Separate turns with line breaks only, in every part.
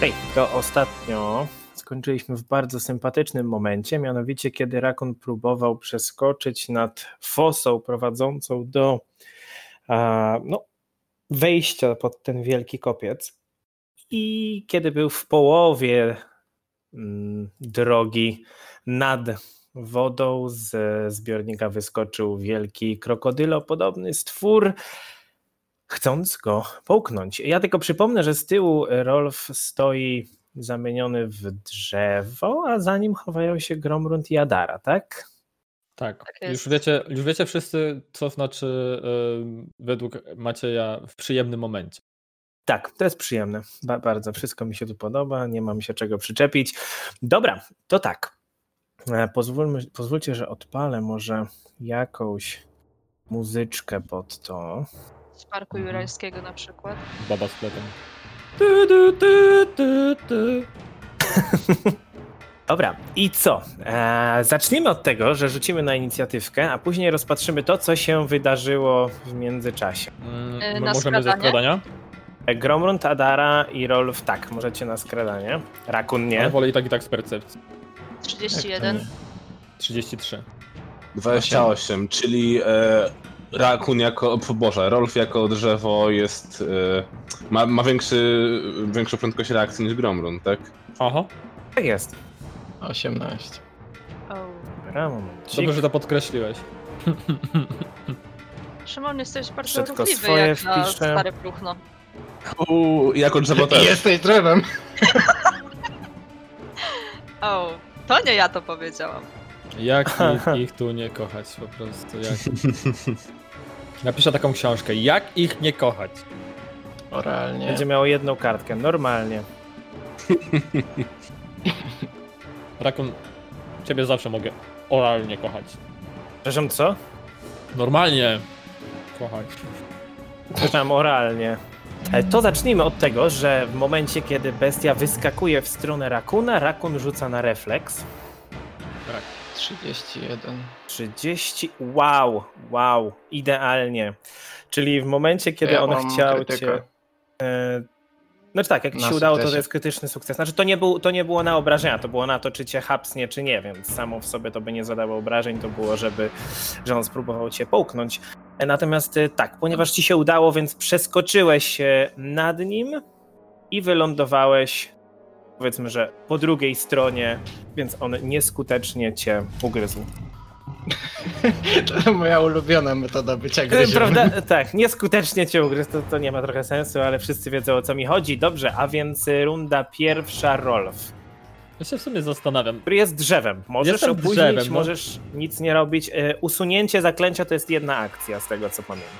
Hej, to ostatnio skończyliśmy w bardzo sympatycznym momencie, mianowicie kiedy Rakon próbował przeskoczyć nad fosą prowadzącą do a, no, wejścia pod ten wielki kopiec. I kiedy był w połowie mm, drogi nad wodą, z zbiornika wyskoczył wielki krokodylopodobny stwór chcąc go połknąć. Ja tylko przypomnę, że z tyłu Rolf stoi zamieniony w drzewo, a za nim chowają się Gromrund i Adara, tak?
Tak,
jest.
już, wiecie, już wiecie wszyscy, co znaczy y, według Macieja w przyjemnym momencie.
Tak, to jest przyjemne. Ba bardzo wszystko mi się tu podoba, nie mam się czego przyczepić. Dobra, to tak. E, Pozwólmy, pozwólcie, że odpalę może jakąś muzyczkę pod to.
Z Parku
Mhm.
Jurajskiego na przykład.
Baba z pletem. Ty, ty, ty, ty, ty.
Dobra, i co? Eee, zacznijmy od tego, że rzucimy na inicjatywkę, a później rozpatrzymy to, co się wydarzyło w międzyczasie.
Mm,
Y,
my
na
możemy ze
skradanie?
składania?
E, Gromrund, Adara i Rolf, tak, możecie na skradanie. Rakun
Ale
nie.
wolę i tak i tak z percepcji.
Jak
31.
33.
28, czyli e, Rakun jako, o Boże, Rolf jako drzewo jest, e, ma, ma większy, większą prędkość reakcji niż Gromrun, tak?
Aha.
Tak jest.
18.
O.
Dobra, momencik.
Dobrze, że to podkreśliłeś.
Szymon, jesteś bardzo
Wszystko
ruchliwy
swoje
jak na
wpiszę.
stare próchno.
Uuu, jako drzewo też.
Jesteś drzewem!
O, to nie ja to powiedziałam.
Jak ich, ich tu nie kochać po prostu. Jak... Napiszę taką książkę. Jak ich nie kochać?
Oralnie.
Będzie miało jedną kartkę, normalnie.
Rakun, ciebie zawsze mogę oralnie kochać.
Przepraszam, co?
Normalnie kochać.
Przepraszam, oralnie. E, To zacznijmy od tego, że w momencie, kiedy bestia wyskakuje w stronę Rakuna, Rakun rzuca na refleks.
31.
30. Wow, wow, idealnie. Czyli w momencie, kiedy
Ja
on
mam
chciał
krytykę.
cię. E, znaczy tak, jak ci
Na
się udało, to to
sukcesie.
jest krytyczny sukces. Znaczy to nie, był, to nie było na obrażenia, to było na to, czy cię hapsnie, czy nie, więc samo w sobie to by nie zadało obrażeń, to było, żeby, że on spróbował cię połknąć. E, Natomiast e, tak, ponieważ ci się udało, więc przeskoczyłeś e, nad nim i wylądowałeś, powiedzmy, że po drugiej stronie, więc on nieskutecznie cię ugryzł.
To moja ulubiona metoda bycia gryzionym.
Prawda? Tak, nieskutecznie cię ugryzł, to, to nie ma trochę sensu, ale wszyscy wiedzą o co mi chodzi. Dobrze, a więc y, runda pierwsza Rolf,
Ja się w sumie zastanawiam.
który jest drzewem. Możesz
Jestem
opóźnić,
drzewem, no.
możesz nic nie robić. Y, Usunięcie zaklęcia to jest jedna akcja, z tego co pamiętam.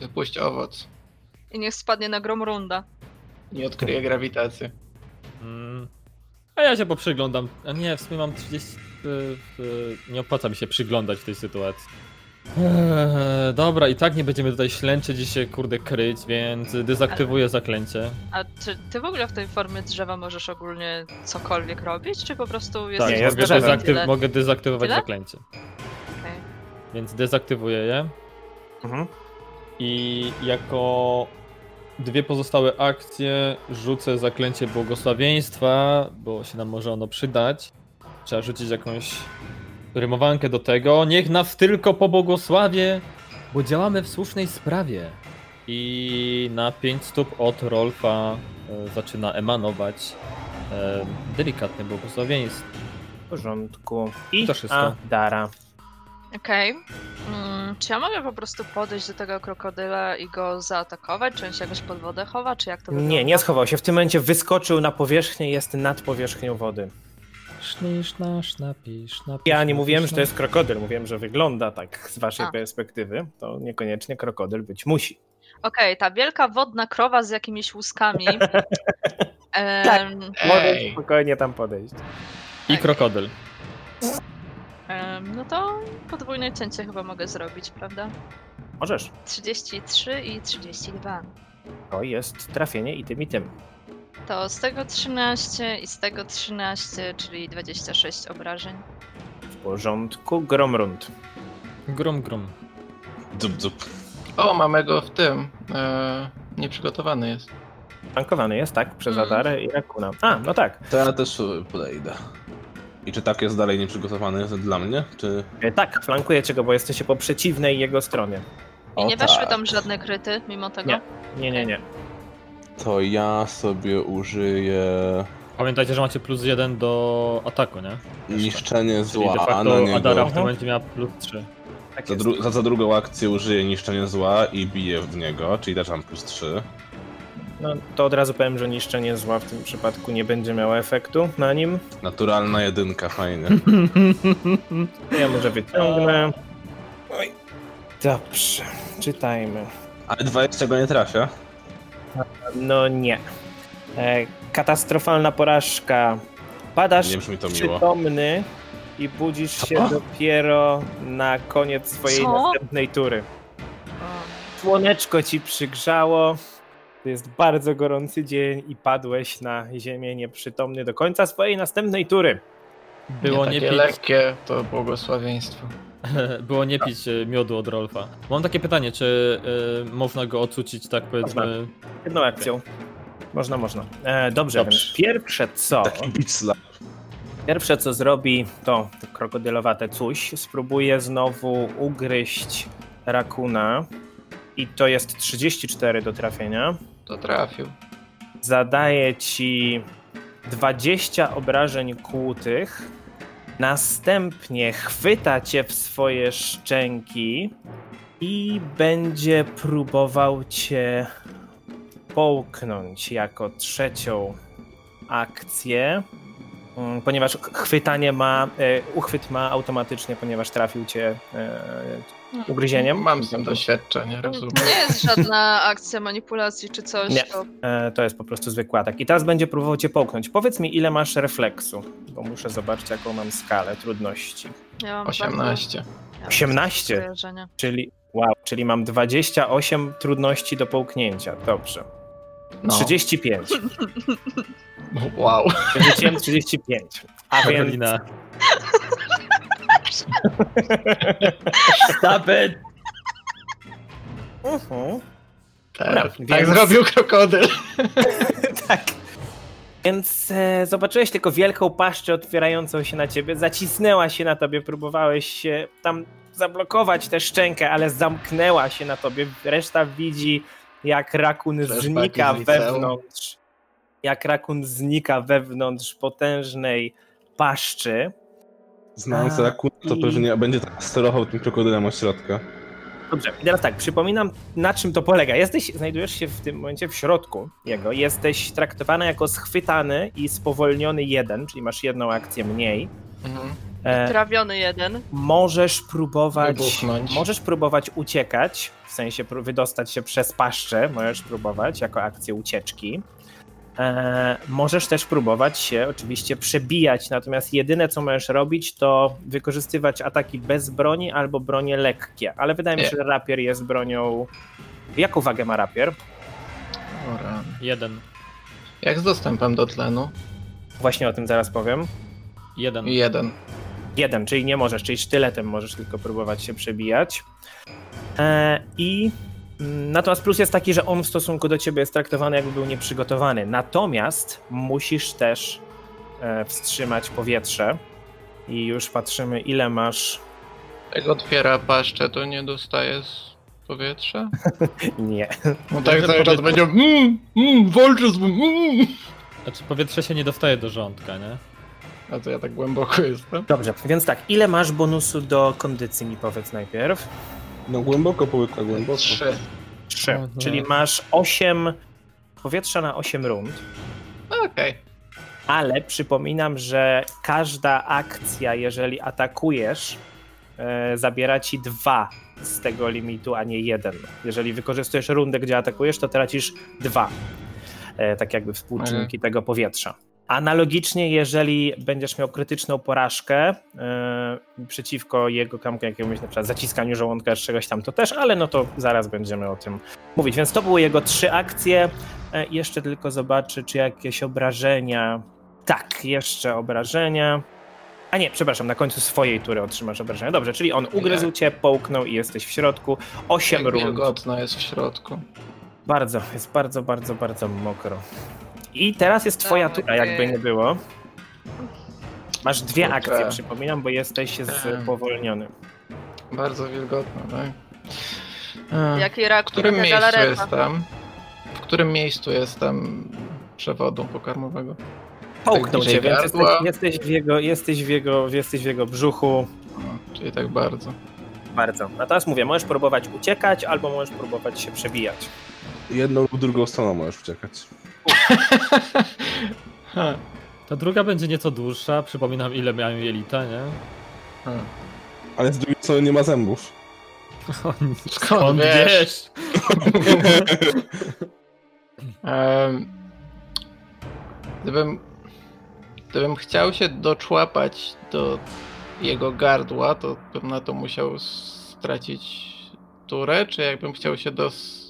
Wypuść owoc.
I niech spadnie na Gromrunda.
Nie odkryje grawitacji.
Mm. A ja się poprzyglądam. A nie, w sumie mam 30. y, y, Nie opłaca mi się przyglądać w tej sytuacji. Eee, dobra, i tak nie będziemy tutaj ślęczyć i się kurde kryć, więc dezaktywuję zaklęcie.
A czy ty w ogóle w tej formie drzewa możesz ogólnie cokolwiek robić, czy po prostu jest
Tak,
Nie, jest
mogę,
drzewem.
dezaktyw- mogę dezaktywować
Tyle?
zaklęcie. Więc dezaktywuję je.
Mhm.
I jako dwie pozostałe akcje rzucę zaklęcie błogosławieństwa, bo się nam może ono przydać. Trzeba rzucić jakąś rymowankę do tego. Niech nas tylko pobłogosławie, bo działamy w słusznej sprawie. I na 5 stóp od Rolfa e, zaczyna emanować e, delikatne błogosławieństwo.
W porządku. I
To wszystko.
a, Dara.
Okej. Mm, czy ja mogę po prostu podejść do tego krokodyla i go zaatakować? Czy on się jakoś pod wodę chowa, czy jak to wygląda?
Nie, nie schował się. W tym momencie wyskoczył na powierzchnię, jest nad powierzchnią wody.
Szny, szna, szna, pi, szna, pi,
Ja nie
szna,
mówiłem,
pi,
że to jest
szna.
krokodyl, mówiłem, że wygląda tak z waszej
A.
perspektywy. To niekoniecznie krokodyl być musi.
Okej, ta wielka wodna krowa z jakimiś łuskami. Em,
Możesz
Ej!
spokojnie tam podejść.
I krokodyl.
em, no to podwójne cięcie chyba mogę zrobić, prawda?
Możesz.
33 i 32.
To jest trafienie i tym i tym.
To z tego 13 i z tego 13, czyli 26 obrażeń.
W porządku, Gromrund.
Grum, grum.
Dup, dup.
O, mamy go w tym. E, nieprzygotowany jest.
Tankowany jest, tak? Przez
Mm.
Adarę i Rakuna. A, no tak.
To ja też y, podejdę. I czy tak jest dalej nieprzygotowany dla mnie, czy...
E, Tak, flankujecie go, bo jesteście po przeciwnej jego stronie.
I
O
nie weszły
tak.
tam żadne kryty, mimo tego.
Nie. Nie, nie, nie.
To ja sobie użyję
Pamiętajcie, że macie plus jeden do ataku, nie?
niszczenie
Czyli de
zła a na
facto Adara
niego.
w tym momencie miała plus trzy.
Tak
Za,
jest.
dru- za, za drugą akcję użyję niszczenie zła i biję w niego, czyli też mam plus 3.
No, to od razu powiem, że niszczenie zła w tym przypadku nie będzie miało efektu na nim.
Naturalna jedynka, fajnie.
To Ja może wyciągnę. Oj. Dobrze, czytajmy.
Ale 20 go nie trafia.
No nie. E, katastrofalna porażka. Padasz
Nie brzmi to miło.
przytomny i budzisz się
Co?
dopiero na koniec swojej
Co?
następnej tury.
O.
Słoneczko ci przygrzało. To jest bardzo gorący dzień i padłeś na ziemię nieprzytomny do końca swojej następnej tury.
Było nie,
takie
pić,
lekkie to błogosławieństwo.
było nie pić e, miodu od Rolfa. Mam takie pytanie, czy e, można go ocucić, tak powiedzmy,
Jedną akcją. Można, można. E, dobrze,
Dobrze.
więc pierwsze co,
Taki beat slap.
pierwsze co zrobi to to krokodylowate coś. Spróbuje znowu ugryźć rakuna i to jest 34 do trafienia.
To trafił.
Zadaje ci 20 obrażeń kłutych. Następnie chwyta cię w swoje szczęki i będzie próbował cię połknąć jako trzecią akcję. Mm, Ponieważ ch- chwytanie ma, e, uchwyt ma automatycznie, ponieważ trafił cię e, ugryzieniem.
Mam z tym doświadczenie, rozumiem.
Nie jest żadna akcja manipulacji czy coś.
Nie.
To...
E, to jest po prostu zwykły atak. I teraz będzie próbował cię połknąć. Powiedz mi, ile masz refleksu, bo muszę zobaczyć, jaką mam skalę trudności.
Ja mam bardzo-
18.
ja mam
18.
skojarzenia.
Czyli, wow, czyli mam 28 trudności do połknięcia. Dobrze.
No.
35.
Wow.
Wyrzuciłem 35. A więc
Karolina?
Mhm.
Tak,
Więc-
tak zrobił krokodyl.
tak. Więc e, zobaczyłeś tylko wielką paszczę otwierającą się na ciebie, zacisnęła się na tobie, próbowałeś się tam zablokować tę szczękę, ale zamknęła się na tobie. Reszta widzi, jak rakun
Flashbacki
znika
z liceum.
wewnątrz. Jak rakun znika wewnątrz potężnej paszczy.
Znając
A,
rakun, to
i-
pewnie będzie tak sterował tym krokodylem od środka.
Dobrze, i teraz tak, przypominam, na czym to polega. Jesteś, znajdujesz się w tym momencie w środku jego. Jesteś traktowany jako schwytany i spowolniony jeden, czyli masz jedną akcję mniej.
Mhm.
E,
Trawiony jeden.
możesz próbować.
Wybuchnąć.
Możesz próbować uciekać, w sensie pró- wydostać się przez paszczę. Możesz próbować jako akcję ucieczki. E, możesz też próbować się oczywiście przebijać, natomiast jedyne co możesz robić to wykorzystywać ataki bez broni albo bronie lekkie, ale wydaje mi się,
Nie.
że rapier jest bronią... Jaką wagę ma rapier?
O rany.
Jeden.
Jak z dostępem do tlenu?
Właśnie o tym zaraz powiem.
Jeden.
Jeden.
Jeden, czyli nie możesz, czyli sztyletem możesz tylko próbować się przebijać. E, I mm, natomiast plus jest taki, że on w stosunku do ciebie jest traktowany jakby był nieprzygotowany. Natomiast musisz też e, wstrzymać powietrze. I już patrzymy, ile masz.
Jak otwiera paszczę, to nie dostaje z powietrza?
Nie.
No tak
Dobrze
cały czas
powiedzieć.
będzie mmm, mmm, walczy z mmm, mm.
Znaczy powietrze się nie dostaje do rządka, nie?
A to ja tak głęboko jestem.
Dobrze, więc tak, ile masz bonusu do kondycji, mi powiedz najpierw.
No głęboko połyka, głęboko.
Trzy.
Trzy.
Mhm.
Czyli masz 8 powietrza na 8 rund.
Okej.
Ale przypominam, że każda akcja, jeżeli atakujesz, e, zabiera ci dwa z tego limitu, a nie jeden. Jeżeli wykorzystujesz rundę, gdzie atakujesz, to tracisz dwa. E, tak jakby współczynniki tego powietrza. Analogicznie, jeżeli będziesz miał krytyczną porażkę e, przeciwko jego kamku, jakiemuś na przykład zaciskaniu żołądka czy czegoś tam, to też, ale no to zaraz będziemy o tym mówić. Więc to były jego trzy akcje. E, Jeszcze tylko zobaczę, czy jakieś obrażenia. Tak, jeszcze obrażenia. A nie, przepraszam, na końcu swojej tury otrzymasz obrażenia. Dobrze, czyli on ugryzł cię, połknął i jesteś w środku. Osiem
Jak
rund.
wilgotno jest w środku.
Bardzo, jest bardzo, bardzo, bardzo mokro. I teraz jest twoja
Dobra,
tura, jakby
ty.
nie było. Masz dwie
Kurczę.
akcje, przypominam, bo jesteś
Tak.
spowolniony.
Bardzo wilgotno, tak? Ech,
Jaki
W
rak
którym
taka
miejscu
galareta.
jestem? W którym miejscu jestem przewodu pokarmowego?
Połknął
bliżej
cię, więc jesteś,
gardła.
jesteś, w jego, jesteś, w jego, jesteś w jego brzuchu.
O, czyli tak bardzo.
Bardzo. A teraz mówię, możesz próbować uciekać, albo możesz próbować się przebijać.
Jedną lub drugą stroną możesz uciekać.
Ha,
Ta druga będzie nieco dłuższa, przypominam ile miałem jelita, nie?
ha.
Ale z drugiej strony nie ma zębów.
Skąd wiesz? Em, Gdybym, gdybym chciał się doczłapać do jego gardła, to bym na to musiał stracić turę, czy jakbym chciał się dos,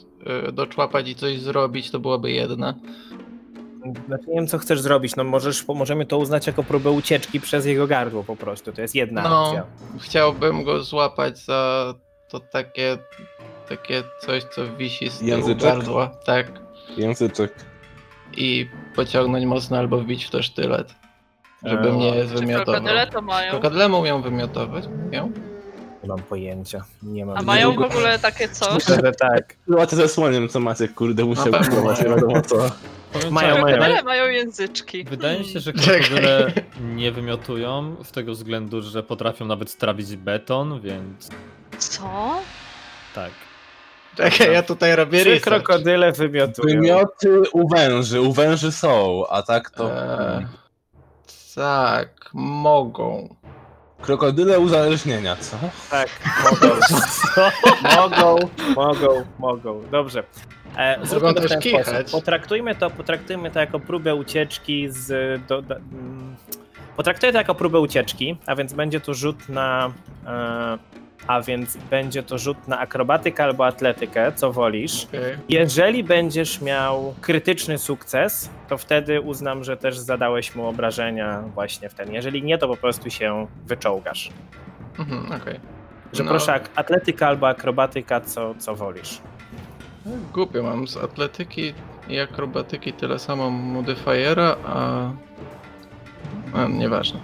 y, doczłapać i coś zrobić, to byłaby jedna.
Znaczy, nie wiem, co chcesz zrobić. No możesz, możemy to uznać jako próbę ucieczki przez jego gardło po prostu. To jest jedna
No.
akcja.
Chciałbym go złapać za to takie, takie coś, co wisi z tyłu
Języczek?
gardła. Tak.
Języczek.
I pociągnąć mocno albo wbić w to sztylet, żeby
Eee,
mnie
Czy
wymiotował.
krokodyle to mają?
Krokodyle umią wymiotować? Umią?
Nie mam pojęcia. Nie mam
A mają w
Myślę,
ogóle takie coś?
że tak.
Była to zasłoniem, co macie, kurde, musiał
pewno.
kupować, nie wiadomo co.
Mają, mają.
Krokodyle mają języczki.
Wydaje się, że
Czekaj.
krokodyle nie wymiotują z tego względu, że potrafią nawet strawić beton, więc
Hmm. Co?
tak.
Czekaj, ja tutaj robię
Trzy
research.
krokodyle wymiotują.
Wymioty u węży, u węży są, a tak to...
Eee, tak, mogą.
Krokodyle uzależnienia, co?
Tak, mogą. mogą, mogą, mogą. Dobrze. E, zróbmy to w
też
ten
kichać.
sposób. Potraktujmy to, potraktujmy to jako próbę ucieczki z... Do, do, mm, potraktuję to jako próbę ucieczki, a więc będzie to rzut na... E, a więc będzie to rzut na akrobatykę albo atletykę, co wolisz.
Okej.
Jeżeli będziesz miał krytyczny sukces, to wtedy uznam, że też zadałeś mu obrażenia właśnie w ten. Jeżeli nie, to po prostu się wyczołgasz.
Mhm, okej.
Że
No,
proszę, ak- atletyka albo akrobatyka, co, co wolisz.
Głupio mam z atletyki i akrobatyki tyle samo modyfiera, a... a nieważne.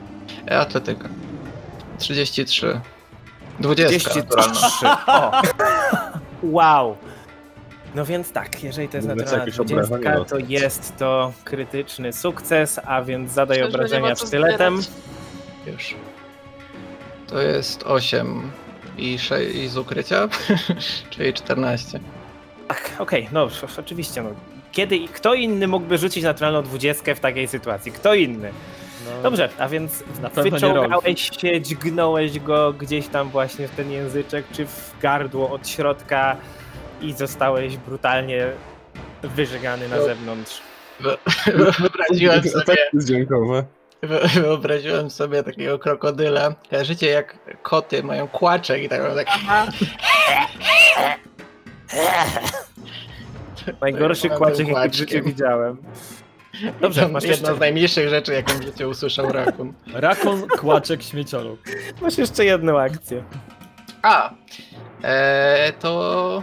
E, atletyka. 33. 20.
33. O. Wow. No więc tak, jeżeli to jest
Mówię, co,
naturalna
jakieś no. obrażenie
20, to
dostać.
jest to krytyczny sukces, a więc zadaj
Przecież będzie
obrażenia
ma co
sztyletem.
zbierać.
Już. To jest 8 i, sze- i z ukrycia, czyli 14.
Okej, no oczywiście. No. Kiedy i kto inny mógłby rzucić naturalną 20 w takiej sytuacji? Kto inny?
No,
Dobrze, a więc
Na pewno nie
wyciągałeś się, dźgnąłeś go gdzieś tam właśnie w ten języczek, czy w gardło od środka i zostałeś brutalnie wyżegany na zewnątrz.
Wyobraziłem sobie,
Efekty dźwiękowe.
Wy- Wyobraziłem sobie takiego krokodyla. Życie jak koty mają kłaczek i tak robią tak.
Aha,
Najgorszy
To ja
kłaczek,
byłem
jaki w życiu
kłaczkiem.
widziałem. Dobrze,
To
masz
jedna
jeszcze,
z najmniejszych rzeczy, jaką w życiu usłyszał rakun.
Rakon, kłaczek, śmieciolog.
masz jeszcze jedną akcję.
A! E, to.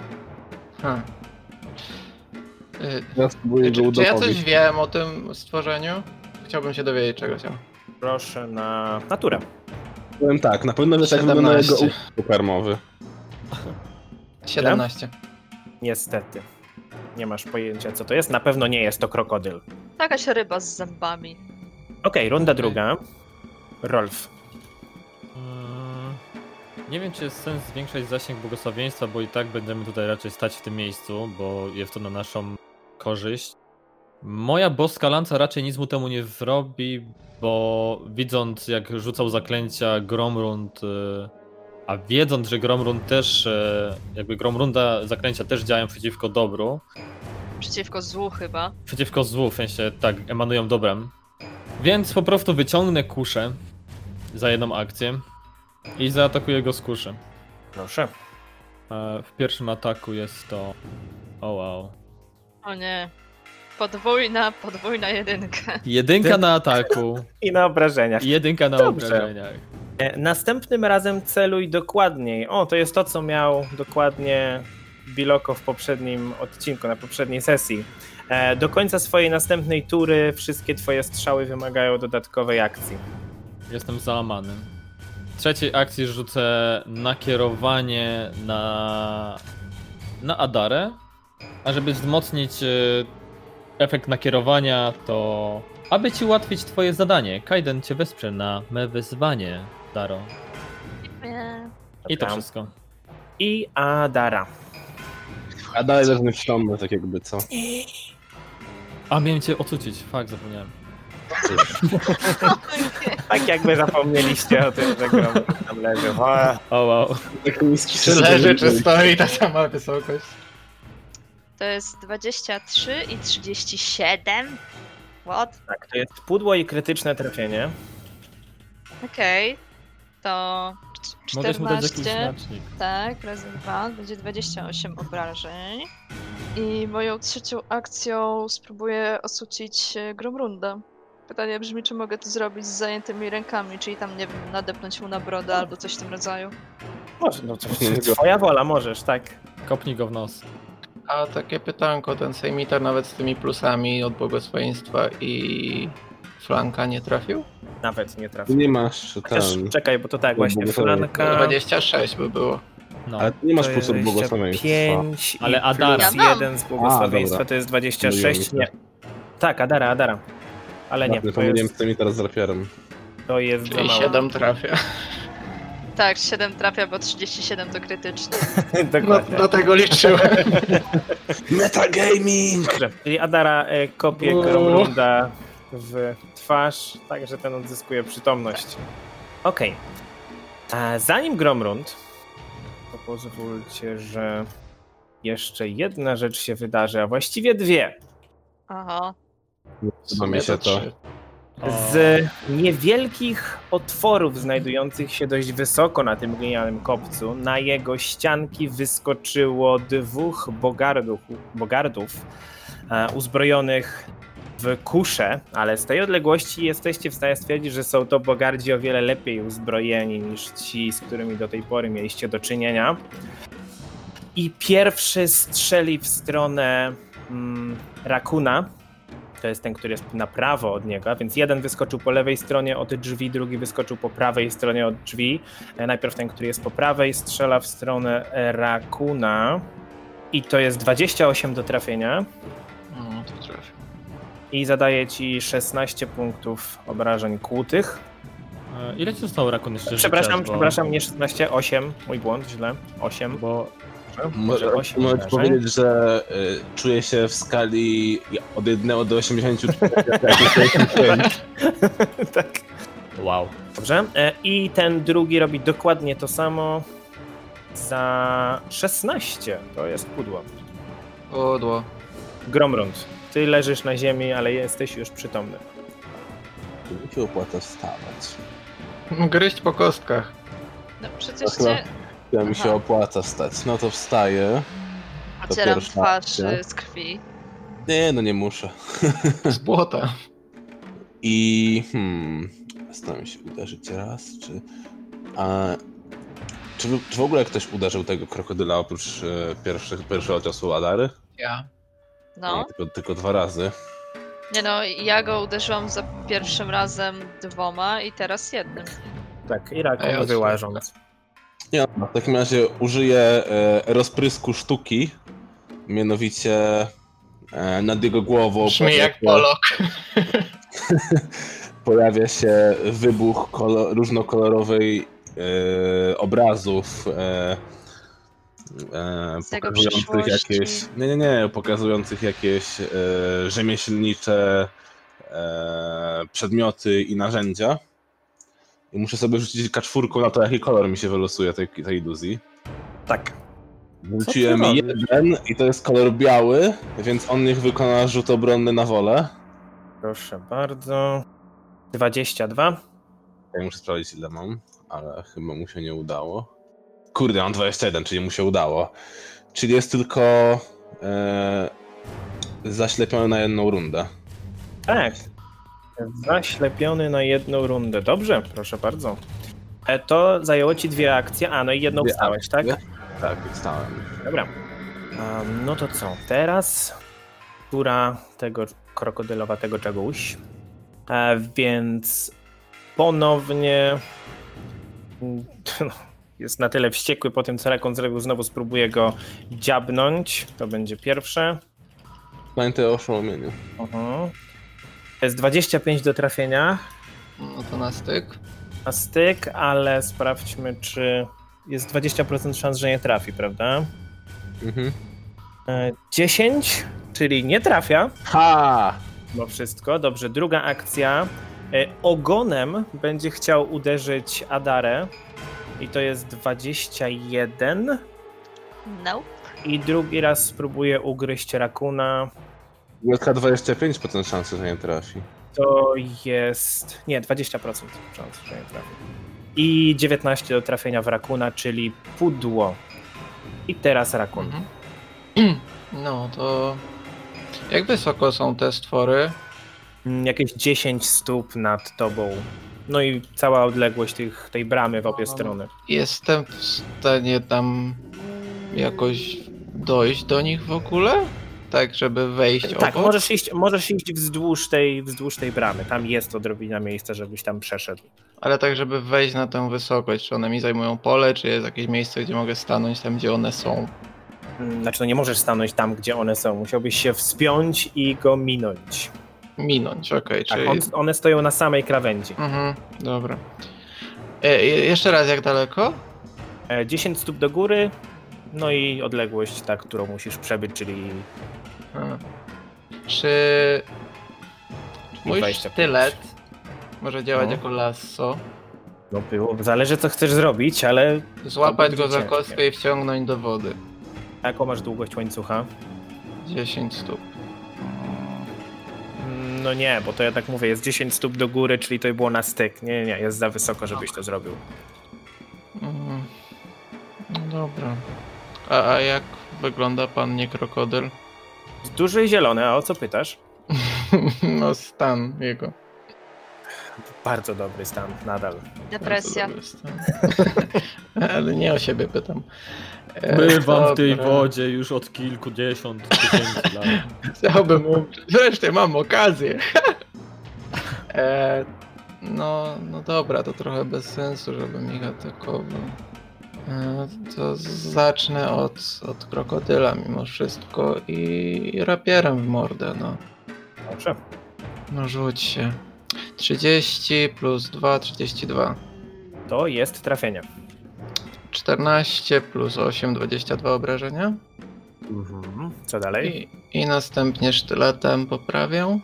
Ha. E,
Ja spróbuję go
czy, czy ja
udopowić.
coś wiem o tym stworzeniu? Chciałbym się dowiedzieć czegoś. o-
Proszę na naturę.
Powiem tak, na pewno, że tak wygląda jego
17.
układ karmowy.
17.
Niestety. Nie masz pojęcia, co to jest. Na pewno nie jest to krokodyl. Okej,
jakaś ryba z zębami.
runda druga. Rolf.
Mm, Nie wiem, czy jest sens zwiększać zasięg błogosławieństwa, bo i tak będziemy tutaj raczej stać w tym miejscu, bo jest to na naszą korzyść. Moja boska lanca raczej nic mu temu nie zrobi, bo widząc jak rzucał zaklęcia Gromrund, y, a wiedząc, że Gromrund też, y, jakby Gromrunda zaklęcia też działają przeciwko dobru,
Przeciwko złu chyba.
przeciwko złu, w sensie tak, emanują dobrem. Więc po prostu wyciągnę kuszę za jedną akcję i zaatakuję go z kuszy.
Proszę.
E, W pierwszym ataku jest to. O wow.
O nie. Podwójna, podwójna jedynka.
Jedynka na ataku,
I na obrażeniach.
i jedynka na
Dobrze.
obrażeniach.
E, Następnym razem celuj dokładniej. O, to jest to, co miał dokładnie Biloko w poprzednim odcinku, na poprzedniej sesji. E, Do końca swojej następnej tury wszystkie twoje strzały wymagają dodatkowej akcji.
Jestem załamany. W trzeciej akcji rzucę nakierowanie na, na Adarę. A żeby wzmocnić y, efekt nakierowania, to aby ci ułatwić twoje zadanie, Kaiden cię wesprze na me wyzwanie, Daro.
Nie.
I to
Dobra.
wszystko.
I Adara.
A dalej leży nieprzytomny, tak jakby, co?
A miałem cię ocucić, fakt zapomniałem.
Tak jakby zapomnieliście o tym, że Grom tam leży. O,
O wow.
Taki niski
Czy leży, czy stoi ta sama wysokość?
To jest 23 i 37. What?
tak, to jest pudło i krytyczne trafienie.
Okej. To c-
Mogę mu dać jakiś
14,
znacznik.
tak, razy 2, będzie 28 obrażeń. I moją trzecią akcją spróbuję osucić e, Gromrundę. Pytanie brzmi, czy mogę to zrobić z zajętymi rękami, czyli tam, nie wiem, nadepnąć mu na brodę albo coś w tym rodzaju.
Może, no to
Nie,
twoja wola, możesz, tak.
Kopnij go w nos.
A takie pytanko, ten sejmitar nawet z tymi plusami od błogosławieństwa i flanka nie trafił?
Nawet nie trafi.
Nie masz
Chociaż
ten.
czekaj, bo to tak,
Bo
właśnie
błogosławie.
flanka.
26 by było.
No.
Ale ty nie masz
to
pulsu
jest
błogosławieństwa.
25
Ale
ale Adara.
Adara.
Ja mam.
plus 1 z błogosławieństwa
A, dobra.
to jest
Pomyliłem
26.
się.
Nie. Tak, Adara, Adara. Ale nie, to
Pomyliłem
jest,
z tymi teraz z rapierem.
to jest za
Czyli
mało.
7 trafia.
Tak, 7 trafia, bo 37 to krytyczne.
No,
Dokładnie.
dlatego liczyłem.
Metagaming!
Dobrze, czyli Adara e, kopie
No.
Uuu.
Gromrunda w twarz, tak że ten odzyskuje przytomność. Okej. A Zanim Gromrund, to pozwólcie, że jeszcze jedna rzecz się wydarzy, a właściwie dwie.
Aha.
Podoba mi się to.
O,
z niewielkich otworów znajdujących się dość wysoko na tym glinianym kopcu. Na jego ścianki wyskoczyło dwóch bogardów, bogardów e, uzbrojonych w kusze, ale z tej odległości jesteście w stanie stwierdzić, że są to bogardzi o wiele lepiej uzbrojeni niż ci, z którymi do tej pory mieliście do czynienia. I pierwszy strzeli w stronę mm, Rakuna, to jest ten, który jest na prawo od niego, więc jeden wyskoczył po lewej stronie od drzwi, drugi wyskoczył po prawej stronie od drzwi. E, Najpierw ten, który jest po prawej, strzela w stronę e, Rakuna i to jest 28 do trafienia
No, to trafił.
i zadaje ci 16 punktów obrażeń kłutych.
e, Ile ci zostało rakun jeszcze
Przepraszam,
życia, bo-
przepraszam, nie 16, 8, mój błąd, źle, 8.
Bo
Może
osiem
mogę
obrażeń.
ci powiedzieć, że y, czuję się w skali od 1 do 84. jak 65.
tak.
wow.
Dobrze. E, I ten drugi robi dokładnie to samo za 16. To jest pudło.
Odło.
Gromrund, ty leżysz na ziemi, ale jesteś już przytomny.
Jakie opłata wstawać?
Gryźć po kostkach.
No przecież
Chyba-
cię
Ja mi się
Aha.
opłaca wstać. No to wstaję.
ocieram
pierwsza
twarz
akcja.
y, z krwi.
Nie, no nie muszę.
Z błota.
I hmm, staram się uderzyć raz, czy. A, czy, czy w ogóle ktoś uderzył tego krokodyla oprócz e, pierwszych, pierwszego ciosu Adary?
Ja.
No.
Nie, tylko, tylko dwa razy.
Nie no, ja go uderzyłam za pierwszym razem dwoma i teraz jednym.
Tak, i
A ja
rakiem
odsunę.
wyłażąc.
Nie, no, w takim razie użyję e, rozprysku sztuki, mianowicie e, nad jego głową tak
Brzmi jak
pojawia,
Polok.
pojawia się wybuch kolo, różnokolorowej e, obrazów. E, e,
Z jego
pokazujących
przyszłości.
jakieś. Nie, nie, nie, pokazujących jakieś e, rzemieślnicze e, przedmioty i narzędzia. I muszę sobie rzucić kaczwórką na to, jaki kolor mi się wylosuje tej, tej iluzji.
Tak.
Wróciłem
robisz?
jeden i to jest kolor biały, więc on niech wykona rzut obronny na wolę.
Proszę bardzo. 22.
Ja muszę sprawdzić ile mam, ale chyba mu się nie udało. Kurde, mam 21, czyli mu się udało. Czyli jest tylko e, zaślepiony na jedną rundę.
Tak. Zaślepiony na jedną rundę. Dobrze, proszę bardzo. E, to zajęło ci dwie akcje. A, no i jedną
Dwie
wstałeś, tak?
akcje. Tak, wstałem.
Dobra. A, no to co, teraz tura tego krokodylowatego czegoś. E, więc ponownie mm, no, jest na tyle wściekły po tym, co Rakon zrobił, znowu spróbuje go dziabnąć. To będzie pierwsze.
Pamiętaj o oszołomieniu.
Mhm. To jest 25 do trafienia
No to na styk.
na styk, ale sprawdźmy, czy jest 20% szans, że nie trafi, prawda?
Mhm.
E, 10, czyli nie trafia.
Ha!
Bo wszystko. Dobrze, druga akcja. E, Ogonem będzie chciał uderzyć Adarę. I to jest 21.
No.
I drugi raz spróbuje ugryźć Rakuna.
Wielka 25% szansy, że nie trafi.
To jest. Nie, 20% szans, że nie trafi. I 19 do trafienia w Rakuna, czyli pudło. I teraz Rakun.
Mhm. No to. Jak wysoko są te stwory?
Mm, Jakieś 10 stóp nad tobą. No i cała odległość tych, tej bramy w obie
No, no, no.
strony.
Jestem w stanie tam jakoś dojść do nich w ogóle? Tak, żeby wejść
Tak,
obok?
możesz iść, możesz iść wzdłuż, tej, wzdłuż tej bramy. Tam jest odrobina miejsca, żebyś tam przeszedł.
Ale tak, żeby wejść na tę wysokość. Czy one mi zajmują pole, czy jest jakieś miejsce, gdzie mogę stanąć tam, gdzie one są?
Mm,
Hmm.
Znaczy, no nie możesz stanąć tam, gdzie one są. Musiałbyś się wspiąć i go minąć.
Minąć, okej,
Tak,
czyli...
on, one stoją na samej krawędzi.
Mhm, dobra. E, je- jeszcze raz, jak daleko?
E, 10 stóp do góry, no i odległość, ta, którą musisz przebyć, czyli
A. Czy... Mój
25.
sztylet może działać
No.
jako lasso?
no było, zależy co chcesz zrobić, ale
Złapać
To
go
będzie
za
ciężkie.
kostkę i wciągnąć do wody.
jaką masz długość łańcucha?
10 stóp.
Mm, No nie, bo to ja tak mówię, jest 10 stóp do góry, czyli to było na styk. Nie, nie, nie, jest za wysoko, żebyś to zrobił.
Mhm. No dobra. A, a jak wygląda pan nie krokodyl?
Duży i zielony, a o co pytasz?
no stan jego.
Bardzo dobry stan, nadal.
Depresja.
Bardzo dobry stan. Ale nie o siebie pytam. E,
Bywam w tej
dobra.
wodzie już od kilkudziesiąt tysięcy lat.
Chciałbym umrzeć. Wreszcie mam okazję. e, no, no dobra, to trochę bez sensu, żebym ich atakował. E, to zacznę od, od krokodyla mimo wszystko i, i rapierem w mordę, no.
Dobrze.
No rzuć się. 30 plus 2, 32.
To jest trafienie.
14 plus 8, 22 obrażenia.
Co dalej?
Mhm. I, i następnie sztyletem poprawię.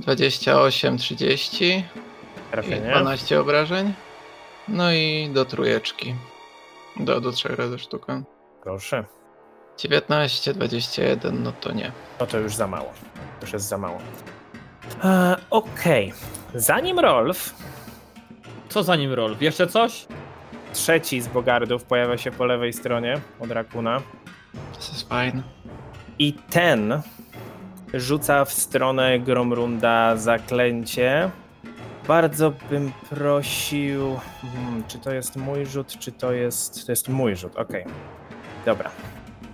28, 30 i
Trafienie.
12 obrażeń. No i do trójeczki. Do, do trzech razy sztukę.
Proszę.
19, 21, no to nie.
No to już za mało. To już jest za mało. E, Okej. Zanim Rolf,
Co za nim Rolf? Jeszcze coś?
trzeci z bogardów, pojawia się po lewej stronie od Rakuna.
To jest fajne.
I ten rzuca w stronę Gromrunda zaklęcie. Bardzo bym prosił. Hmm, czy to jest mój rzut, czy to jest. To jest mój rzut, okej. Dobra.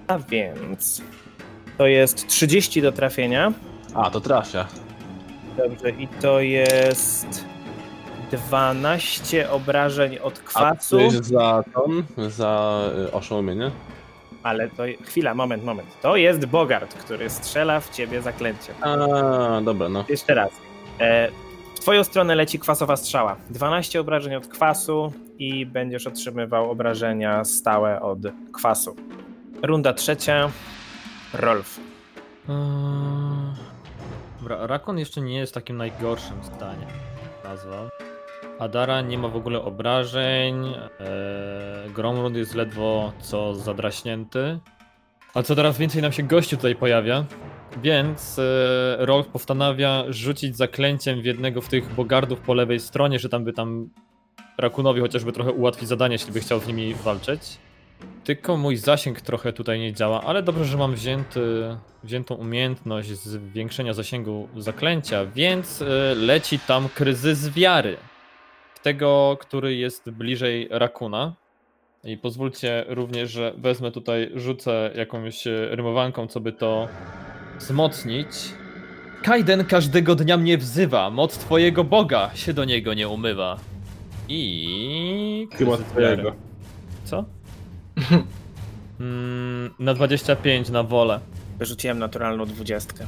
A więc. To jest 30 do trafienia.
A, to trafia.
Dobrze, i to jest 12 obrażeń od
A
kwasu.
to jest za ton, za y, oszołomienie?
Ale to. Chwila, moment, moment. To jest Bogart, który strzela w ciebie zaklęciem.
A, dobra, no.
Jeszcze raz. E, w twoją stronę leci kwasowa strzała. 12 obrażeń od kwasu i będziesz otrzymywał obrażenia stałe od kwasu. Runda trzecia. Rolf.
Eee, Dobra, Rakon jeszcze nie jest w takim najgorszym stanie. Nazwa. Adara nie ma w ogóle obrażeń. Eee, Gromrud jest ledwo co zadraśnięty. A co teraz więcej nam się gościu tutaj pojawia. Więc eee, Rolf postanawia rzucić zaklęciem w jednego z tych bogardów po lewej stronie, że tam by tam Rakunowi chociażby trochę ułatwić zadanie, jeśli by chciał z nimi walczyć. Tylko mój zasięg trochę tutaj nie działa, ale dobrze, że mam wzięty, wziętą umiejętność zwiększenia zasięgu zaklęcia, więc y, leci tam kryzys wiary. Tego, który jest bliżej Rakuna. I pozwólcie również, że wezmę tutaj, rzucę jakąś e, rymowanką, co by to wzmocnić. Kaiden każdego dnia mnie wzywa, moc twojego Boga się do niego nie umywa. I...
Chyba
kryzys wiary.
twojego.
Co? Mm, na 25 na wolę.
Wyrzuciłem naturalną dwudziestkę.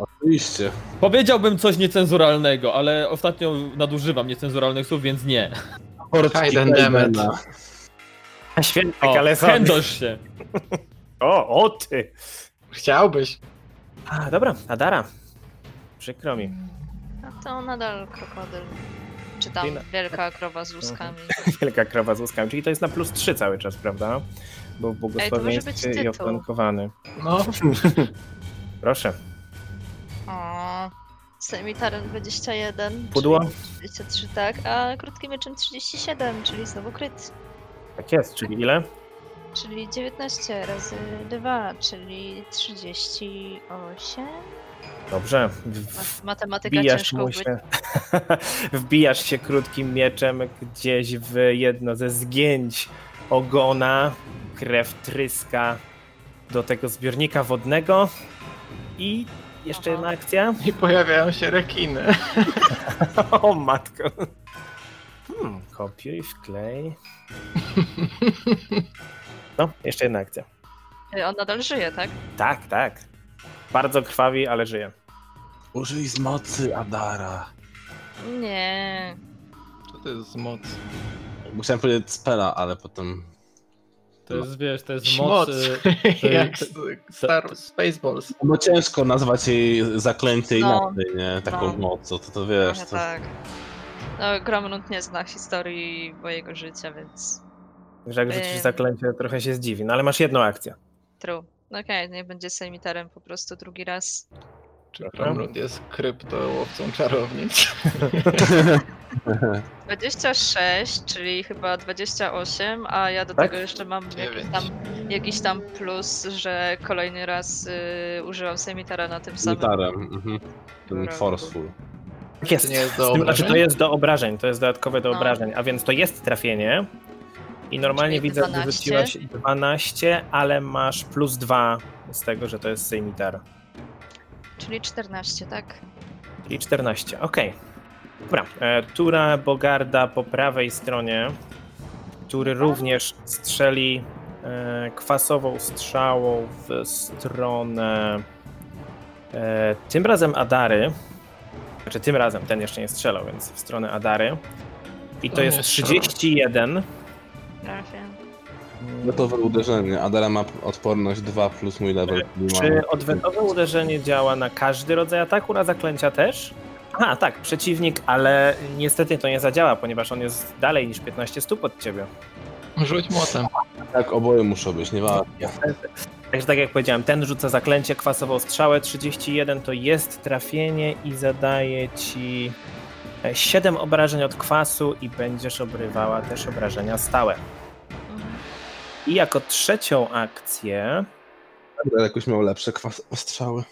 Oczywiście.
Powiedziałbym coś niecenzuralnego, ale ostatnio nadużywam niecenzuralnych słów, więc nie.
Hayden Demet.
Świętek,
O,
Tak, ale są.
chędosz się.
O, o ty!
Chciałbyś.
A, dobra, Adara. Przykro mi.
No to nadal krokodyl. Czy tam
Czyli na-
wielka krowa z łuskami.
Wielka krowa z łuskami, czyli to jest na plus 3 cały czas, prawda? Bo w błogosławieństwie
być
i
tytuł.
oflankowany.
No,
Proszę.
O, z sanitarem 21.
Pudło?
czyli 23, tak, a krótkim mieczem 37, czyli znowu kryt.
Tak jest, czyli ile?
Czyli 19 razy 2, czyli 38.
Dobrze. W-
Mat- Matematyka
Wbijasz
ciężko
mu
ubyć.
się. Wbijasz się krótkim mieczem gdzieś w jedno ze zgięć ogona. Krew tryska do tego zbiornika wodnego. I jeszcze
Aha.
jedna akcja.
i pojawiają się rekiny.
O matko. Hmm, kopiuj, wklej. No, jeszcze jedna akcja.
Y, On nadal żyje, tak?
Tak, tak. Bardzo krwawi, ale żyje.
Użyj z mocy, Adara.
Nie.
Co to jest z moc?
Musiałem powiedzieć spela, ale potem...
To jest, wiesz, to jest
Moc.
moc. y,
Jak
to-
z- Star Spaceballs.
No ciężko nazwać jej zaklęcie
No.
inaczej, nie? Taką
No.
mocą, to to wiesz.
Trochę
To...
tak. No, Gromlund nie zna historii mojego życia, więc
Że jak rzucisz
Em.
zaklęcie, trochę się zdziwi. No ale masz jedną akcję.
true. No okej, nie będzie sejmitarem po prostu drugi raz.
Czy Gromlund jest kryptołowcą czarownic?
tak. 26, czyli chyba 28, a ja do
Tak?
tego jeszcze mam jakiś
Dziewięć.
tam, jakiś tam plus, że kolejny raz y, użyłam semitara na tym
Z
samym.
gitarem, mhm. No Ten
Dobra.
forceful.
Tak jest.
To nie jest
Z
do
tym, znaczy,
obrażeń?
to jest do obrażeń, to jest dodatkowe do
No.
obrażeń, a więc to jest trafienie. I normalnie
Czyli
widzę, że
12.
rzuciłaś 12, ale masz plus 2 z tego, że to jest sejmitar.
Czyli 14, tak?
Czyli 14, okej. Dobra, e, Tura Bogarda po prawej stronie, który również strzeli e, kwasową strzałą w stronę e, tym razem Adary. Znaczy tym razem, ten jeszcze nie strzelał, więc w stronę Adary. I to
To
jest
nie
31.
Trafię.
Wetowe No uderzenie. Adara ma odporność 2 plus mój level. który mam.
Czy odwetowe uderzenie działa na każdy rodzaj ataku, na zaklęcia też? Aha, tak, przeciwnik, ale niestety to nie zadziała, ponieważ on jest dalej niż 15 stóp od ciebie.
Rzuć młotem.
Tak, oboje muszą być, nie ma.
Także tak jak powiedziałem, ten rzuca zaklęcie, kwasową strzałę, 31 to jest trafienie i zadaje ci 7 obrażeń od kwasu i będziesz obrywała też obrażenia stałe.
Mhm.
I jako trzecią akcję
Adara jakoś miał lepsze kwas ostrzały.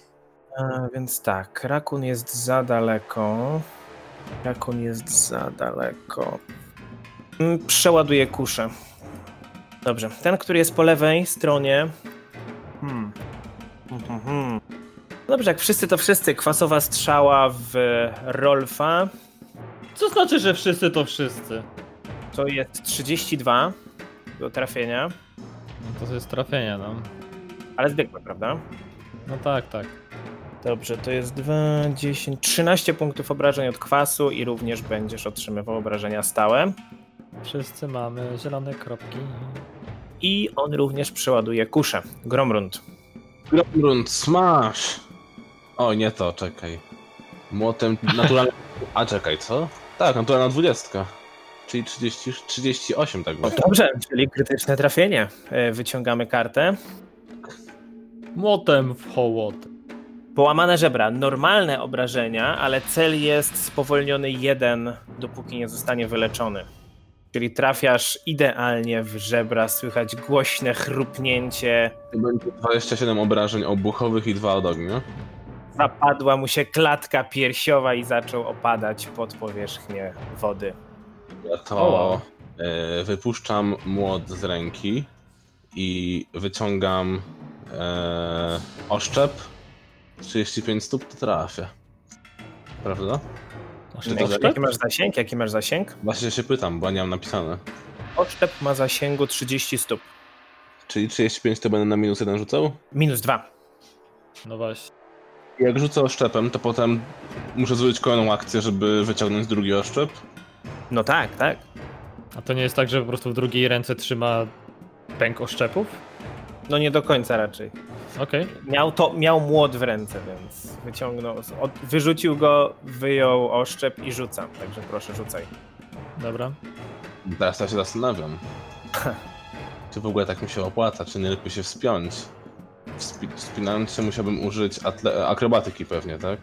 A, więc tak, rakun jest za daleko. Rakun jest za daleko. Mm, Przeładuję kuszę. Dobrze, ten, który jest po lewej stronie. Hmm. Mhm, mhm. Dobrze, jak wszyscy to wszyscy. Kwasowa strzała w Rolfa.
Co znaczy, że wszyscy to wszyscy?
To jest 32 do trafienia,
No to jest trafienie, no.
ale zwykłe, prawda?
No tak, tak.
Dobrze, to jest 2, 10, 13 punktów obrażeń od kwasu i również będziesz otrzymywał obrażenia stałe.
Wszyscy mamy zielone kropki.
I on również przeładuje kuszę. Gromrund.
Gromrund, smash! O, nie to, czekaj. Młotem naturalnym... A czekaj, co? Tak, naturalna dwudziestka. Czyli 30, 38 tak właśnie.
Dobrze, czyli krytyczne trafienie. E, Wyciągamy kartę.
Młotem w hołot.
Połamane żebra. Normalne obrażenia, ale cel jest spowolniony jeden, dopóki nie zostanie wyleczony. Czyli trafiasz idealnie w żebra, słychać głośne chrupnięcie.
To będzie 27 obrażeń obuchowych i 2 od ognia.
Zapadła mu się klatka piersiowa i zaczął opadać pod powierzchnię wody.
Ja
O, wow.
to... E, Wypuszczam młot z ręki i wyciągam e, oszczep. 35 stóp to trafia. Prawda?
Masz
Czy
ten
to
oszczep?
tak?
Jaki masz zasięg? Jaki masz zasięg?
Właśnie się pytam, bo nie mam napisane.
Odczep ma zasięgu 30 stóp.
Czyli 35 to będę na minus 1 rzucał?
Minus 2.
No właśnie.
Jak rzucę oszczepem, to potem muszę zrobić kolejną akcję, żeby wyciągnąć drugi oszczep.
No tak, tak.
A to nie jest tak, że po prostu w drugiej ręce trzyma pęk oszczepów?
No nie do końca raczej.
Okej.
Miał, to, miał młot w ręce, więc wyciągnął, z- od, wyrzucił go, wyjął oszczep i rzucam. Także proszę, rzucaj.
Dobra.
Teraz ja się zastanawiam. Czy w ogóle tak mi się opłaca, czy nie lepiej się wspiąć? Wspi wspinając się musiałbym użyć atle- akrobatyki pewnie, tak?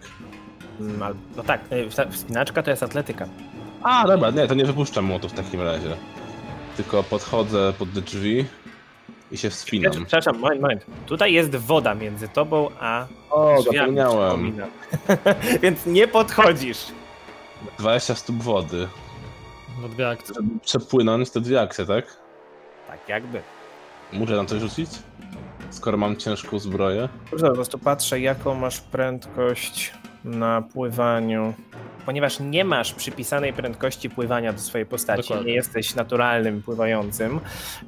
Mm, al- No tak, y, wsta- wspinaczka to jest atletyka.
A, dobra, nie, to nie wypuszczam młotu w takim razie. Tylko podchodzę pod te drzwi i się wspinam.
Przepraszam, moment, moment. Tutaj jest woda między tobą a
O,
drzwiami,
zapomniałem.
przypominam. więc nie podchodzisz.
20 stóp wody.
No dwie akcje.
Żeby przepłynąć te dwie akcje, tak?
Tak jakby.
Muszę tam coś rzucić? Skoro mam ciężką zbroję.
Dobrze, po prostu patrzę, jaką masz prędkość na pływaniu. Ponieważ nie masz przypisanej prędkości pływania do swojej postaci,
Dokładnie.
nie jesteś naturalnym pływającym,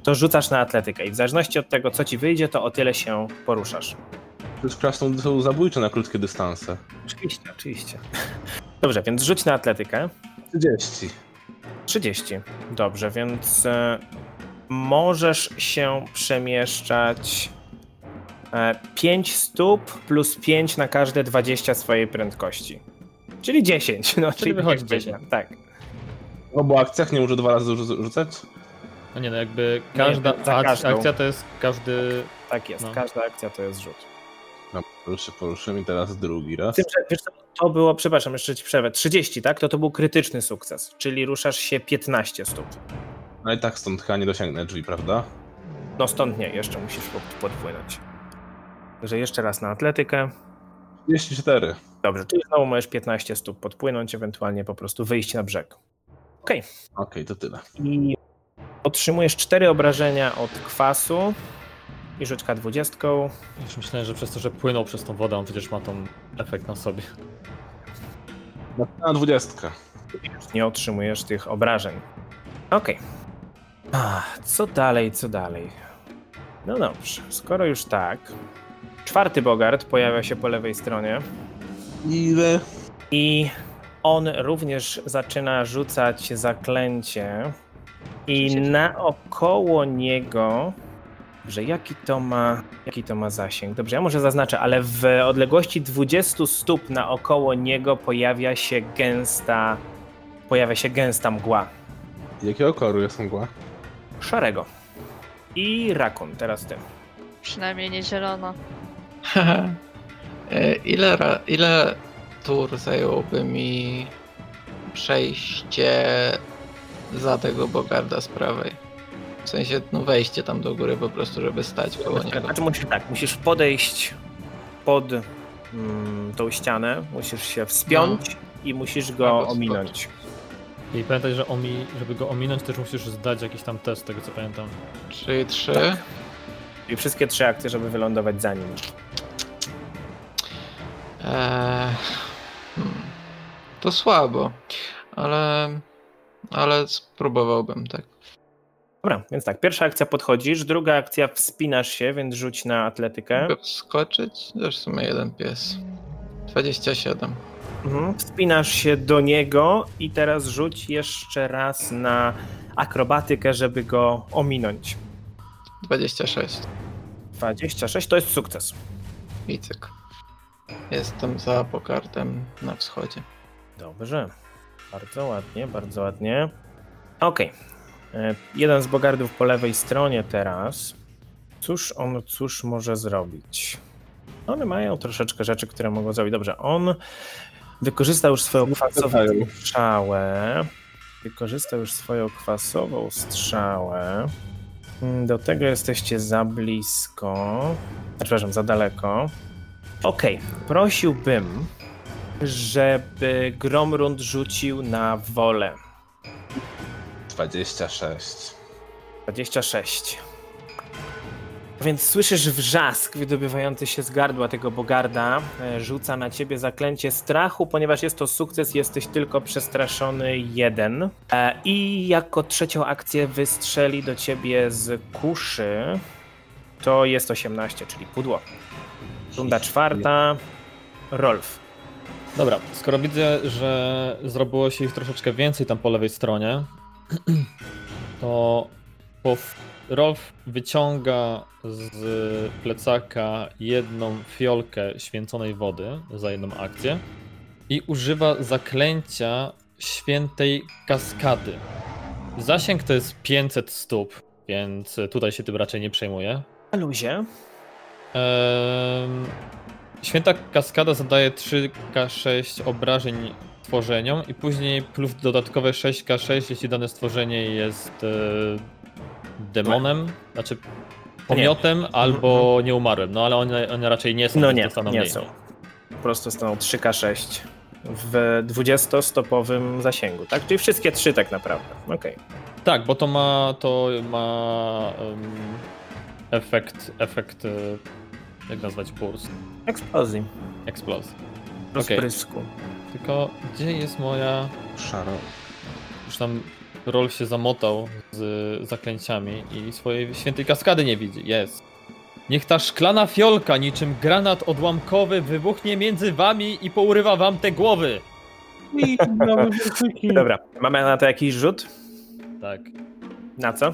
to rzucasz na atletykę i w zależności od tego, co ci wyjdzie, to o tyle się poruszasz.
Przecież krasną są zabójcze na krótkie dystanse.
Oczywiście, oczywiście. Dobrze, więc rzuć na atletykę.
30.
30. Dobrze, więc e, możesz się przemieszczać 5 stóp plus 5 na każde 20 swojej prędkości. Czyli 10. No, czyli
wychodzi
jakby-
10.
Tak.
W obu akcjach nie muszę dwa razy rzu- rzucać?
No nie no, jakby każda
za
ak-
każdą.
akcja to jest każdy...
Tak jest.
No.
Każda akcja to jest rzut.
No, poruszy, poruszymy i teraz drugi raz.
Tym, że, wiesz, co, to było, przepraszam, jeszcze ci przerwę. 30, tak? To to był krytyczny sukces, czyli ruszasz się 15 stóp.
No i tak stąd chyba nie dosięgnę drzwi, prawda?
No stąd nie, jeszcze musisz pod- podpłynąć. Także jeszcze raz na atletykę.
34.
Dobrze, czyli znowu możesz 15 stóp podpłynąć, ewentualnie po prostu wyjść na brzeg.
Okej, to tyle.
I otrzymujesz 4 obrażenia od kwasu i rzuć K20.
Już myślałem, że przez to, że płynął przez tą wodę, on przecież ma tą efekt na sobie.
Na 20.
Już nie otrzymujesz tych obrażeń. Okej. A, Co dalej, co dalej? No dobrze, skoro już tak. Czwarty Bogart pojawia się po lewej stronie.
Ile?
I on również zaczyna rzucać zaklęcie. I
Przecież-
naokoło niego. Dobrze, jaki to ma. Jaki to ma zasięg? Dobrze, ja może zaznaczę, ale w odległości 20 stóp naokoło niego pojawia się gęsta. Pojawia się gęsta mgła.
Jakiego koloru jest mgła?
Szarego. I rakun, teraz ty.
Przynajmniej nie zielona.
E, ile, ra, ile tur zajęłoby mi przejście za tego Bogarda z prawej? W sensie, no wejście tam do góry po prostu, żeby stać koło niego.
Znaczy musisz tak, musisz podejść pod mm, tą ścianę, musisz się wspiąć i musisz go
No. Albo
ominąć.
I pamiętaj, że omi... żeby go ominąć, też musisz zdać jakiś tam test, z tego co pamiętam.
Czyli trzy.
I wszystkie trzy akcje, żeby wylądować za nim.
Eee, hmm. To słabo, ale, ale spróbowałbym, tak.
Dobra, więc tak, pierwsza akcja podchodzisz, druga akcja wspinasz się, więc rzuć na atletykę.
Mogę wskoczyć? Też w sumie jeden pies. 27.
Mhm. Wspinasz się do niego i teraz rzuć jeszcze raz na akrobatykę, żeby go ominąć.
26.
26 to jest sukces.
Icyk. Jestem za Bogardem na wschodzie.
Dobrze. Bardzo ładnie, bardzo ładnie. Okej. E, Jeden z bogardów po lewej stronie teraz. Cóż on, cóż może zrobić? One mają troszeczkę rzeczy, które mogą zrobić. Dobrze, on wykorzystał już swoją kwasową
Wypychają.
strzałę. Wykorzystał już swoją kwasową strzałę. Mm, Do tego jesteście za blisko. A, Przepraszam, za daleko. Okej, prosiłbym, żeby Gromrund rzucił na wolę.
26.
26. A Więc słyszysz wrzask wydobywający się z gardła tego bogarda. E, Rzuca na ciebie zaklęcie strachu, ponieważ jest to sukces, jesteś tylko przestraszony jeden. E, I jako trzecią akcję wystrzeli do ciebie z kuszy. To jest 18, czyli pudło. Runda czwarta. Rolf.
Dobra, skoro widzę, że zrobiło się ich troszeczkę więcej tam po lewej stronie, to pow- Rolf wyciąga z plecaka jedną fiolkę święconej wody za jedną akcję i używa zaklęcia świętej kaskady. Zasięg to jest 500 stóp, więc tutaj się tym raczej nie przejmuję.
Na luzie.
Em, Święta kaskada zadaje 3k6 obrażeń tworzeniom i później plus dodatkowe 6k6, jeśli dane stworzenie jest e, demonem, znaczy pomiotem albo nieumarłym, no ale one, one raczej nie są.
Mhm, No
więc
nie,
dostaną
nie
mniej.
są. Po prostu staną 3K6 w 20-stopowym zasięgu, tak? Czyli wszystkie trzy tak naprawdę. Okej.
Tak, bo to ma, to ma em, efekt, efekt, e, jak nazwać, burst,
Eksplozji.
eksplozji. Okej.
Rozprysku.
Tylko gdzie jest moja...
Szaro.
Już tam Rolf się zamotał z zaklęciami i swojej świętej kaskady nie widzi. Jest. Niech ta szklana fiolka niczym granat odłamkowy wybuchnie między wami i pourywa wam te głowy.
Dobra, mamy na to jakiś rzut?
Tak.
Na co?
Eee,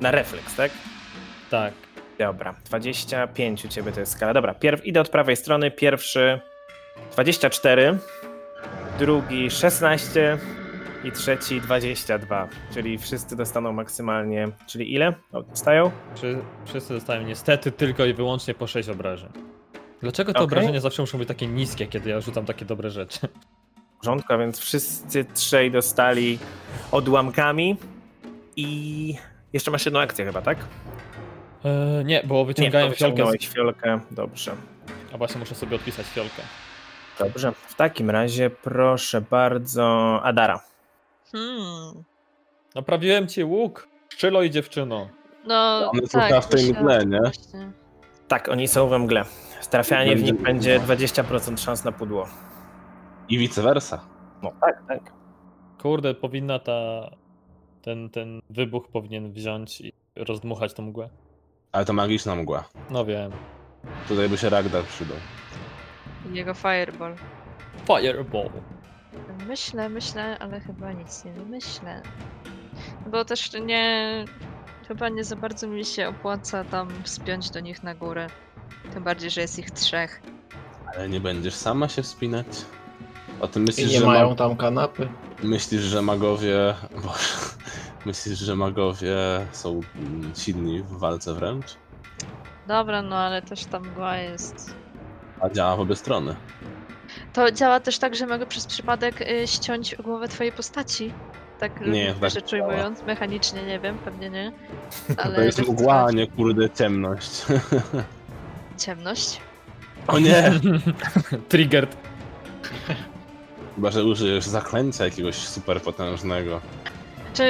Na refleks, tak?
tak.
Dobra, 25 u ciebie to jest skala. Dobra, pierw, idę od prawej strony. Pierwszy 24, drugi 16 i trzeci 22. Czyli wszyscy dostaną maksymalnie. Czyli ile? O, Dostają?
Wszy- Wszyscy dostają niestety tylko i wyłącznie po 6 obrażeń. Dlaczego te
Okej.
obrażenia zawsze muszą być takie niskie, kiedy ja rzucam takie dobre rzeczy?
porządku, a więc wszyscy trzej dostali odłamkami i jeszcze masz jedną akcję chyba, tak?
Eee, nie, bo wyciągałem
to
fiolkę. Z...
wyciągnąłeś fiolkę. Dobrze.
A właśnie muszę sobie odpisać fiolkę.
Dobrze. W takim razie proszę bardzo Adara.
Hmm.
Naprawiłem No, ci łuk. Szczylo i dziewczyno.
No,
One są
tak.
chyba w tej
myślę-
mgle, nie?
Właśnie.
Tak, oni są we mgle. Trafianie w nich będzie
Będzie-
20% szans na pudło.
I vice versa.
No tak, tak.
Kurde, powinna ta. Ten, ten wybuch powinien wziąć i rozdmuchać tą mgłę.
Ale to magiczna mgła.
No wiem.
Tutaj by się Ragdar przydał.
Jego fireball.
Fireball.
Myślę, myślę, ale chyba nic nie wymyślę. Bo też nie. Chyba nie za bardzo mi się opłaca tam wspiąć do nich na górę. Tym bardziej, że jest ich trzech.
Ale nie będziesz sama się wspinać. O tym myślisz,
I nie
że
mają
ma...
tam kanapy.
myślisz, że magowie. Boże. Myślisz, że magowie są mm, silni w walce wręcz?
Dobra, no ale też tam mgła jest.
A działa w obie strony.
To działa też tak, że mogę przez przypadek y, ściąć głowę twojej postaci. Tak
Nie, tak
rzecz
działa.
ujmując, mechanicznie nie wiem, pewnie nie. Ale
To jest
tak
mgła, a
działa.
nie kurde ciemność.
Ciemność.
o nie!
Triggered.
Chyba, że użyjesz zaklęcia jakiegoś superpotężnego.
Czy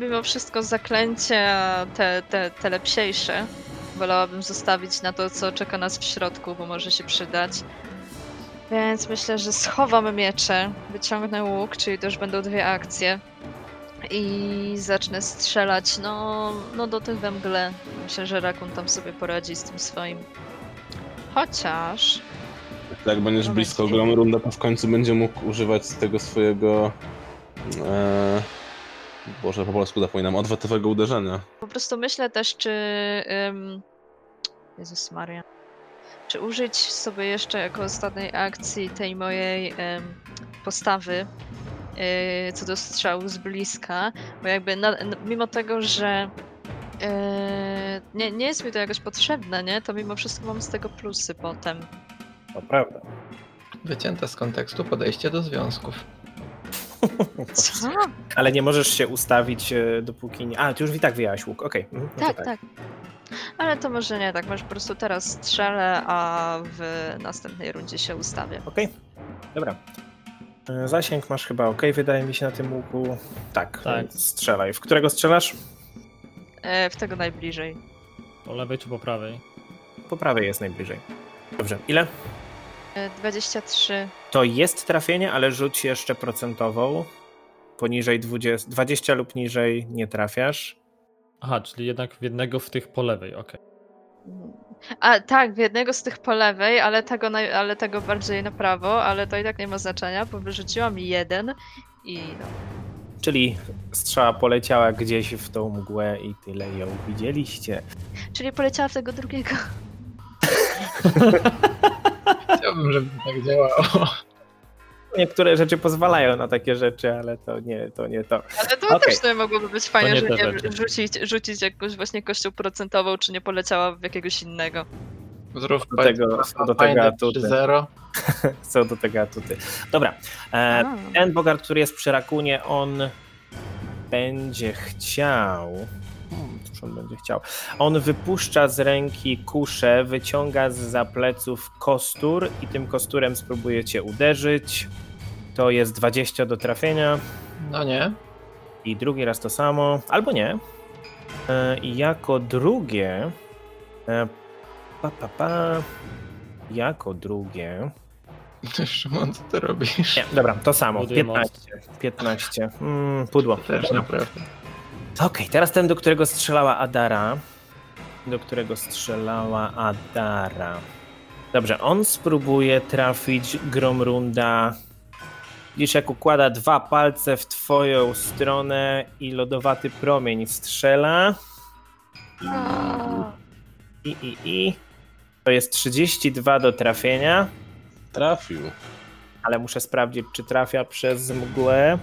mimo wszystko zaklęcia te, te, te lepsiejsze wolałabym zostawić na to, co czeka nas w środku, bo może się przydać. Więc myślę, że schowam miecze, wyciągnę łuk, czyli to już będą dwie akcje. I zacznę strzelać, no, no do tych we mgle. Myślę, że Rakun tam sobie poradzi z tym swoim. Chociaż...
Jak będziesz
No
blisko
właśnie.
ogromną rundę, to w końcu będzie mógł używać tego swojego. E... Boże, po polsku zapominam, odwetowego uderzenia.
Po prostu myślę też, czy. ym, Jezus Maria. Czy użyć sobie jeszcze jako ostatniej akcji tej mojej ym, postawy yy, co do strzału z bliska? Bo jakby na, n- mimo tego, że yy, nie, nie jest mi to jakoś potrzebne, nie? To mimo wszystko mam z tego plusy potem.
To prawda.
Wycięte z kontekstu podejście do związków.
Co?
Ale nie możesz się ustawić e, dopóki nie... A, ty już i tak wyjałaś łuk, okej. Mhm, no to
Tak, tak. Ale to może nie tak, może po prostu teraz strzelę, a w następnej rundzie się ustawię.
Okej, dobra. E, Zasięg masz chyba ok, wydaje mi się na tym łuku. Tak,
Tak.
więc strzelaj. W którego strzelasz?
E, w tego najbliżej.
Po lewej czy po prawej?
Po prawej jest najbliżej. Dobrze, ile?
E, 23.
To jest trafienie, ale rzuć jeszcze procentową. Poniżej 20, 20 lub niżej nie trafiasz.
Aha, czyli jednak w jednego w tych po lewej, okej.
Mhm. A tak, w jednego z tych po lewej, ale tego, naj, ale tego bardziej na prawo, ale to i tak nie ma znaczenia, bo wyrzuciłam jeden i no,
Czyli strzała poleciała gdzieś w tą mgłę i tyle ją widzieliście.
Czyli poleciała w tego drugiego.
Chciałbym, żeby tak działało.
Niektóre rzeczy pozwalają na takie rzeczy, ale to nie to. Nie to.
Ale to
Okej.
też to mogłoby być fajne,
nie
że
te
nie
rzeczy.
rzucić, rzucić jakąś właśnie kością procentową, czy nie poleciała w jakiegoś innego.
Zrób
Do tego-
państwa
do tego
fajne
atuty.
3-0.
Co do tego atuty. Dobra.
A,
E, ten Bogart, który jest przy Rakunie, on będzie chciał. Hmm, cóż on będzie chciał? On wypuszcza z ręki kuszę, wyciąga z za pleców kostur i tym kosturem spróbuje cię uderzyć. To jest 20 do trafienia
No nie.
i drugi raz to samo, albo nie. E, I jako drugie. E, pa, pa, pa. Jako drugie.
Szymon, co ty robisz?
Nie, dobra, to samo.
Buduję
15.
most.
15. Mm, pudło.
Też naprawdę.
Okej, teraz ten, do którego strzelała Adara. Do którego strzelała Adara. Dobrze, on spróbuje trafić Gromrunda. Widzisz, jak układa dwa palce w twoją stronę i lodowaty promień strzela. I, i, i. To jest 32 do trafienia,
Trafił.
ale muszę sprawdzić, czy trafia przez mgłę.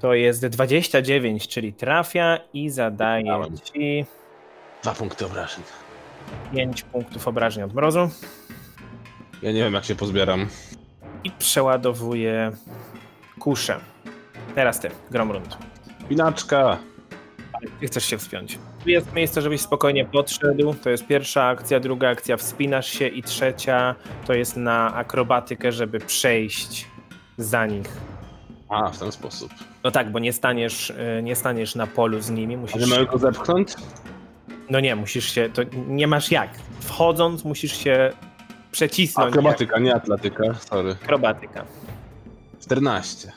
To jest 29, czyli trafia i zadaje
Wygrałem.
ci...
Dwa punkty obrażeń.
5 punktów obrażeń od mrozu
Ja nie wiem, jak się pozbieram.
i przeładowuje kuszę. Teraz ty, Gromrund.
Pinaczka!
Ty Chcesz się wspiąć. Tu jest miejsce, żebyś spokojnie podszedł. To jest pierwsza akcja, druga akcja wspinasz się i trzecia to jest na akrobatykę, żeby przejść za nich.
A, w ten sposób.
No tak, bo nie staniesz, y, nie staniesz na polu z nimi,
A nie
musisz...
mogę go zepchnąć?
No nie, musisz się... To nie masz jak. Wchodząc musisz się przecisnąć.
Akrobatyka, No nie atletyka, sorry.
jak- Akrobatyka.
14.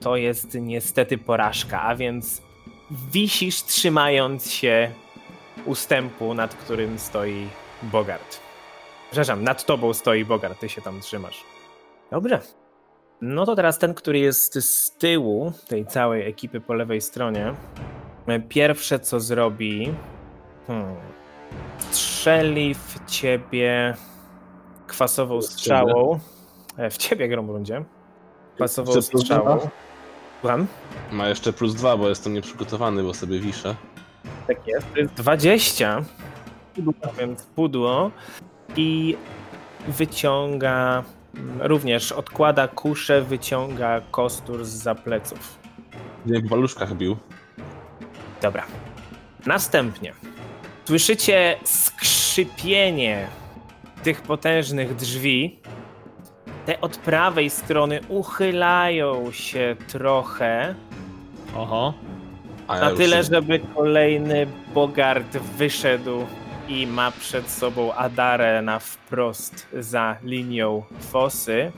to jest niestety porażka, a więc wisisz trzymając się ustępu, nad którym stoi Bogart. Przepraszam, nad tobą stoi Bogart, ty się tam trzymasz. Dobrze. No to teraz ten, który jest z tyłu tej całej ekipy po lewej stronie. Pierwsze co zrobi. Hmm, strzeli w ciebie kwasową strzałą. E, W ciebie, Gromrundzie. Kwasową
Czy plus
strzałą.
dwa?
Słucham?
Ma jeszcze plus dwa, bo jestem nieprzygotowany, bo sobie wiszę.
Tak jest. To jest 20. Pudło, więc pudło. I wyciąga, mm, również odkłada kuszę, wyciąga kostur z pleców.
Nie, po paluszkach bił.
Dobra. Następnie. Słyszycie skrzypienie tych potężnych drzwi. Te od prawej strony uchylają się trochę.
Oho.
A ja
Na
już
tyle,
się-
żeby kolejny Bogart wyszedł i ma przed sobą Adarę na wprost za linią fosy.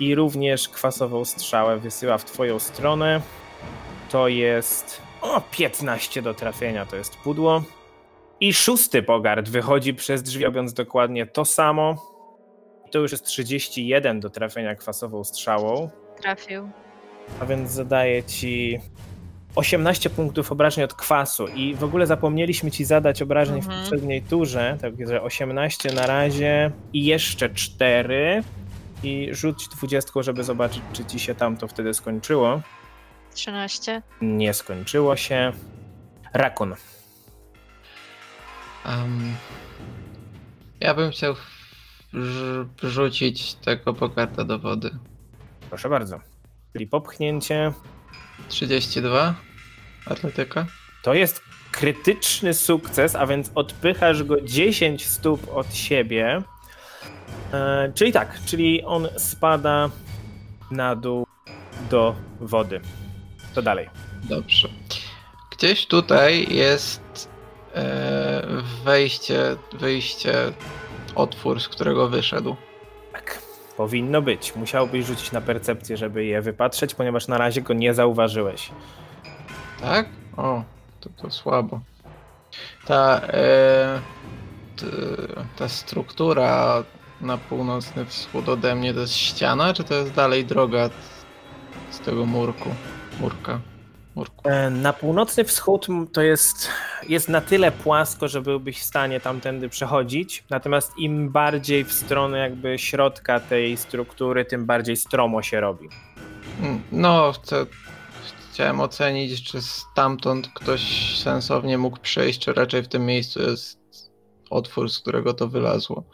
I również kwasową strzałę wysyła w twoją stronę. To jest. O, 15 do trafienia to jest pudło. I szósty Bogart wychodzi przez drzwi, robiąc dokładnie to samo. To już jest 31 do trafienia kwasową strzałą.
trafił.
A więc zadaję ci 18 punktów obrażeń od kwasu. I w ogóle zapomnieliśmy ci zadać obrażeń
Mhm.
w poprzedniej turze. Także 18 na razie i jeszcze 4. I rzuć 20, żeby zobaczyć, czy ci się tam to wtedy skończyło.
13.
Nie skończyło się. Rakun.
Am, ja bym chciał wrz- wrzucić tego pokarta do wody.
Proszę bardzo. Czyli popchnięcie.
32. Atletyka.
To jest krytyczny sukces, a więc odpychasz go 10 stóp od siebie. E, czyli tak, czyli on spada na dół do wody. To dalej.
Dobrze. Gdzieś tutaj jest e, wejście, wyjście, otwór, z którego wyszedł.
Tak, powinno być. Musiałbyś rzucić na percepcję, żeby je wypatrzeć, ponieważ na razie go nie zauważyłeś.
Tak? O, to, to słabo. Ta, e, t, ta struktura na północny wschód ode mnie to jest ściana, czy to jest dalej droga z tego murku? Murka. Murku.
E, Na północny wschód m, to jest, jest na tyle płasko, że byłbyś w stanie tamtędy przechodzić. Natomiast im bardziej w stronę jakby środka tej struktury, tym bardziej stromo się robi.
Mm, No, chcę, chciałem ocenić, czy stamtąd ktoś sensownie mógł przejść, czy raczej w tym miejscu jest otwór, z którego to wylazło.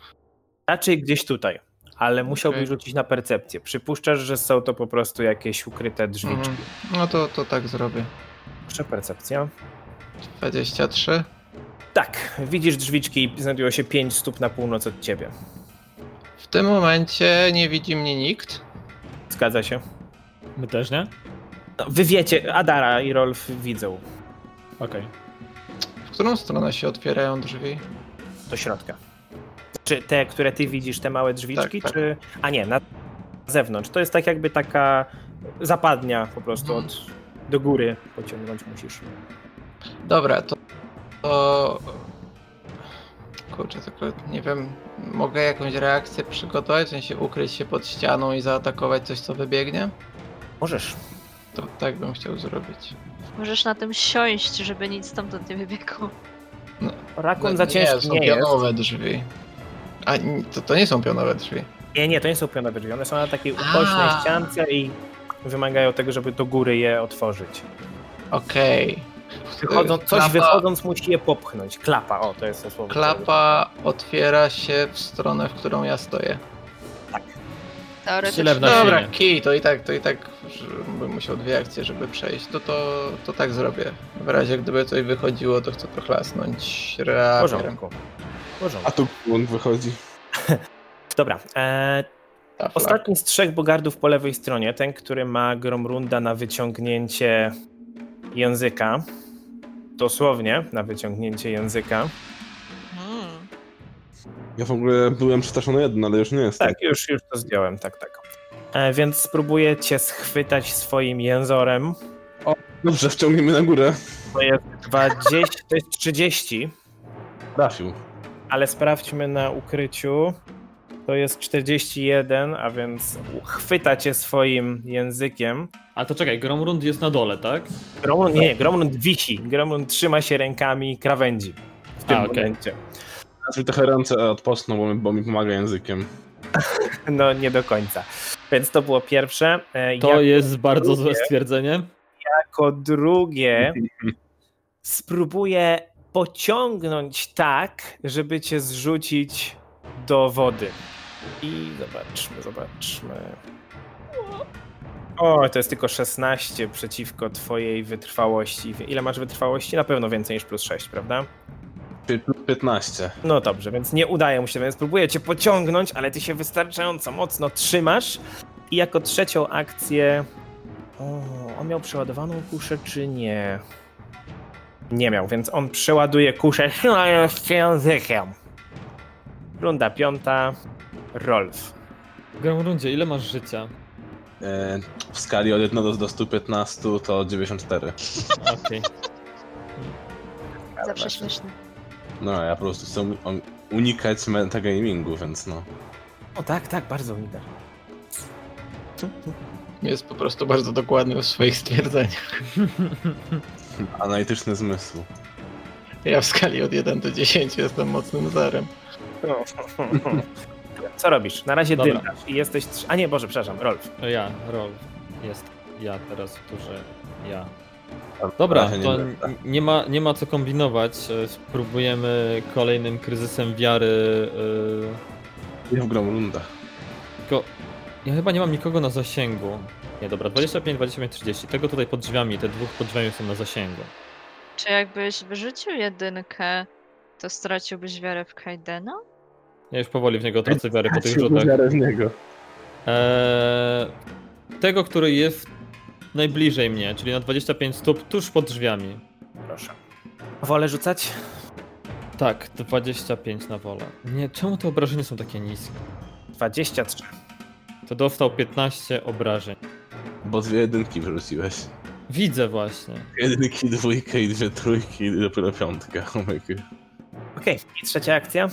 Raczej gdzieś tutaj, ale musiałbyś
Okej.
rzucić na percepcję. Przypuszczasz, że są to po prostu jakieś ukryte drzwiczki.
Mhm. No to, to tak zrobię.
Proszę, percepcja.
23.
Tak, widzisz drzwiczki i znajdują się 5 stóp na północ od ciebie.
W tym momencie nie widzi mnie nikt.
Zgadza się?
My też, nie?
No, wy wiecie, Adara i Rolf widzą
Okej.
W którą stronę się otwierają drzwi?
do środka. Czy te, które ty widzisz, te małe drzwiczki,
Tak, tak.
czy... A nie, na zewnątrz. To jest tak jakby taka zapadnia po prostu
Mhm.
od... do góry pociągnąć musisz.
Dobra, to. to... Kurczę, tylko nie wiem, mogę jakąś reakcję przygotować, w sensie ukryć się pod ścianą i zaatakować coś, co wybiegnie?
Możesz.
To tak bym chciał zrobić.
Możesz na tym siąść, żeby nic stamtąd nie wybiegło.
Rakun za ciężki
No są
nie, jest.
pionowe drzwi. A n- to, to nie są pionowe drzwi.
Nie, nie, to nie są pionowe drzwi. One są na takiej
A.
ukośnej ściance i wymagają tego, żeby do góry je otworzyć.
Okej.
Wychodząc, coś
Y, Klapa-
wychodząc musi je popchnąć. Klapa, o, to jest to słowo.
Klapa otwiera się w stronę, w którą ja stoję.
Teoretycznie.
Tyle w nas-
Dobra,
siebie.
kij, to i tak, to i tak że bym musiał dwie akcje, żeby przejść. To, to, to tak zrobię. W razie gdyby coś wychodziło, to chcę prochlasnąć
W
rapierem.
porządku. W porządku.
A tu błąd wychodzi.
Dobra, e,
Tafla.
Ostatni z trzech bogardów po lewej stronie, ten, który ma Gromrunda na wyciągnięcie języka, dosłownie na wyciągnięcie języka.
Mm.
Ja w ogóle byłem przestraszony jeden, ale już nie jestem.
Tak, już, już to zdjąłem, tak, tak. E, więc spróbuję cię schwytać swoim jęzorem.
Dobrze, wciągniemy na górę.
To jest 20, to jest 30,
Trafił.
ale sprawdźmy na ukryciu. To jest 41, a więc chwyta cię swoim językiem.
A to czekaj, Gromrund jest na dole, tak?
Gromlund, nie, Gromlund wisi. Gromlund trzyma się rękami krawędzi w tym
A, okej.
momencie.
Czyli trochę ręce odpoczną, bo mi, bo mi pomaga językiem.
No nie do końca. Więc to było pierwsze. E,
To
jako,
jest bardzo złe
drugie-
stwierdzenie.
jako drugie spróbuję pociągnąć tak, żeby cię zrzucić do wody. I zobaczmy, zobaczmy. O, to jest tylko 16 przeciwko twojej wytrwałości. Ile masz wytrwałości? Na pewno więcej niż plus 6, prawda?
Pi- plus 15.
No dobrze, więc nie udaje mu się, więc próbuję cię pociągnąć, ale ty się wystarczająco mocno trzymasz. I jako trzecią akcję. O, on miał przeładowaną kuszę, czy nie? Nie miał, więc on przeładuje kuszę z językiem. Runda piąta. Rolf.
Gromrundzie, ile masz życia?
E, w skali od 1 do, do 115 to 94.
Okej.
Zawsze śmieszne.
No, ja po prostu chcę u- on- unikać metagamingu, więc no.
O tak, tak, bardzo unika.
Jest po prostu bardzo dokładny w swoich stwierdzeniach.
Analityczny zmysł.
Ja w skali od 1 do 10 jestem mocnym zerem.
Co robisz? Na razie
Dobra.
dymasz i jesteś. Trz... A nie, Boże, przepraszam, Rolf.
Ja, rol. Jest ja teraz, którzy ja.
A w
Dobra,
razie nie
to
będę. tak
n- nie ma, nie ma co kombinować. E, Spróbujemy kolejnym kryzysem wiary. e,
Nie w Gromrundach.
Tylko ja chyba nie mam nikogo na zasięgu. Nie, dobra, 25, 25, 30. Tego tutaj pod drzwiami, te dwóch pod drzwiami są na zasięgu.
Czy jakbyś wyrzucił jedynkę, to straciłbyś wiarę w Kaidena?
tak-
Ja już powoli w niego tracę wiary po tych rzutach.
z niego.
Eee, tego, który jest najbliżej mnie, czyli na 25 stóp tuż pod drzwiami.
Proszę. Wolę rzucać?
Tak, 25 na wolę. Nie, czemu te obrażenia są takie niskie?
23.
To dostał 15 obrażeń.
Bo dwie jedynki wrzuciłeś.
Widzę właśnie.
Jedynki, dwójkę i dwie trójki i dopiero piątka. Oh my God.
Okej, i trzecia akcja.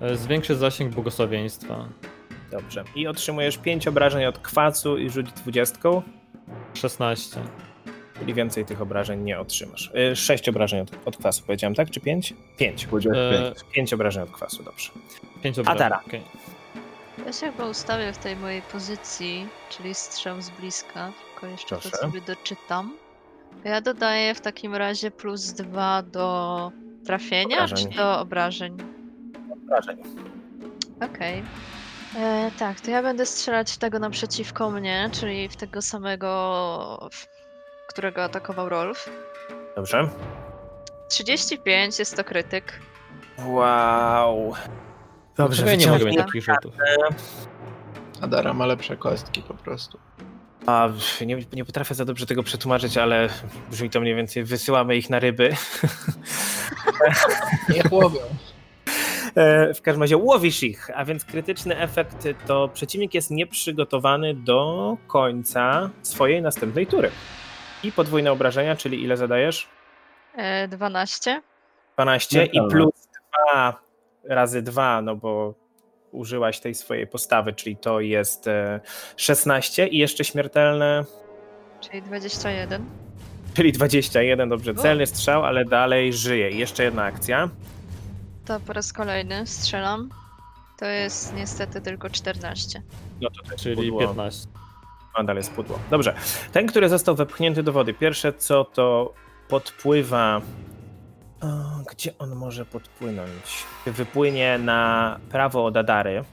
E, Zwiększy zasięg błogosławieństwa.
Dobrze. I otrzymujesz 5 obrażeń od kwasu i rzuć 20,
16.
czyli więcej tych obrażeń nie otrzymasz. 6 obrażeń od, od kwasu, powiedziałem, tak? Czy 5? 5.
Powiedziałeś
E,
pięć.
5 obrażeń od kwasu, dobrze.
5 obrażeń.
Atara.
okej.
Ja się chyba ustawię w tej mojej pozycji, czyli strzał z bliska, tylko jeszcze
Proszę.
to sobie doczytam. Ja dodaję w takim razie plus dwa do trafienia
Obrażeń.
czy do obrażeń.
Obrażeń.
Okej. E, Tak, to ja będę strzelać w tego naprzeciwko mnie, czyli w tego samego, w- którego atakował Rolf.
Dobrze.
35 jest to krytyk.
Wow. Dobrze,
Dlaczego Znaczy, ja nie mogę
wyciągnij-
mieć takich rzutów?
Adara ma lepsze kostki po prostu.
A, pff, nie, nie potrafię za dobrze tego przetłumaczyć, ale brzmi to mniej więcej, wysyłamy ich na ryby.
Niech łowią.
E, W każdym razie łowisz ich, a więc krytyczny efekt to przeciwnik jest nieprzygotowany do końca swojej następnej tury. I podwójne obrażenia, czyli ile zadajesz?
E, 12.
12 i
Niepełne.
plus 2 razy 2, no bo użyłaś tej swojej postawy, czyli to jest e, 16 i jeszcze śmiertelne,
Czyli 21.
czyli 21, dobrze,
O.
celny strzał, ale dalej żyje. I jeszcze jedna akcja.
To po raz kolejny strzelam. To jest niestety tylko 14.
No to też
Czyli
pudło.
15.
A dalej spudło. Dobrze. Ten, który został wepchnięty do wody, pierwsze co to podpływa. O, Gdzie on może podpłynąć? Wypłynie na prawo od Adary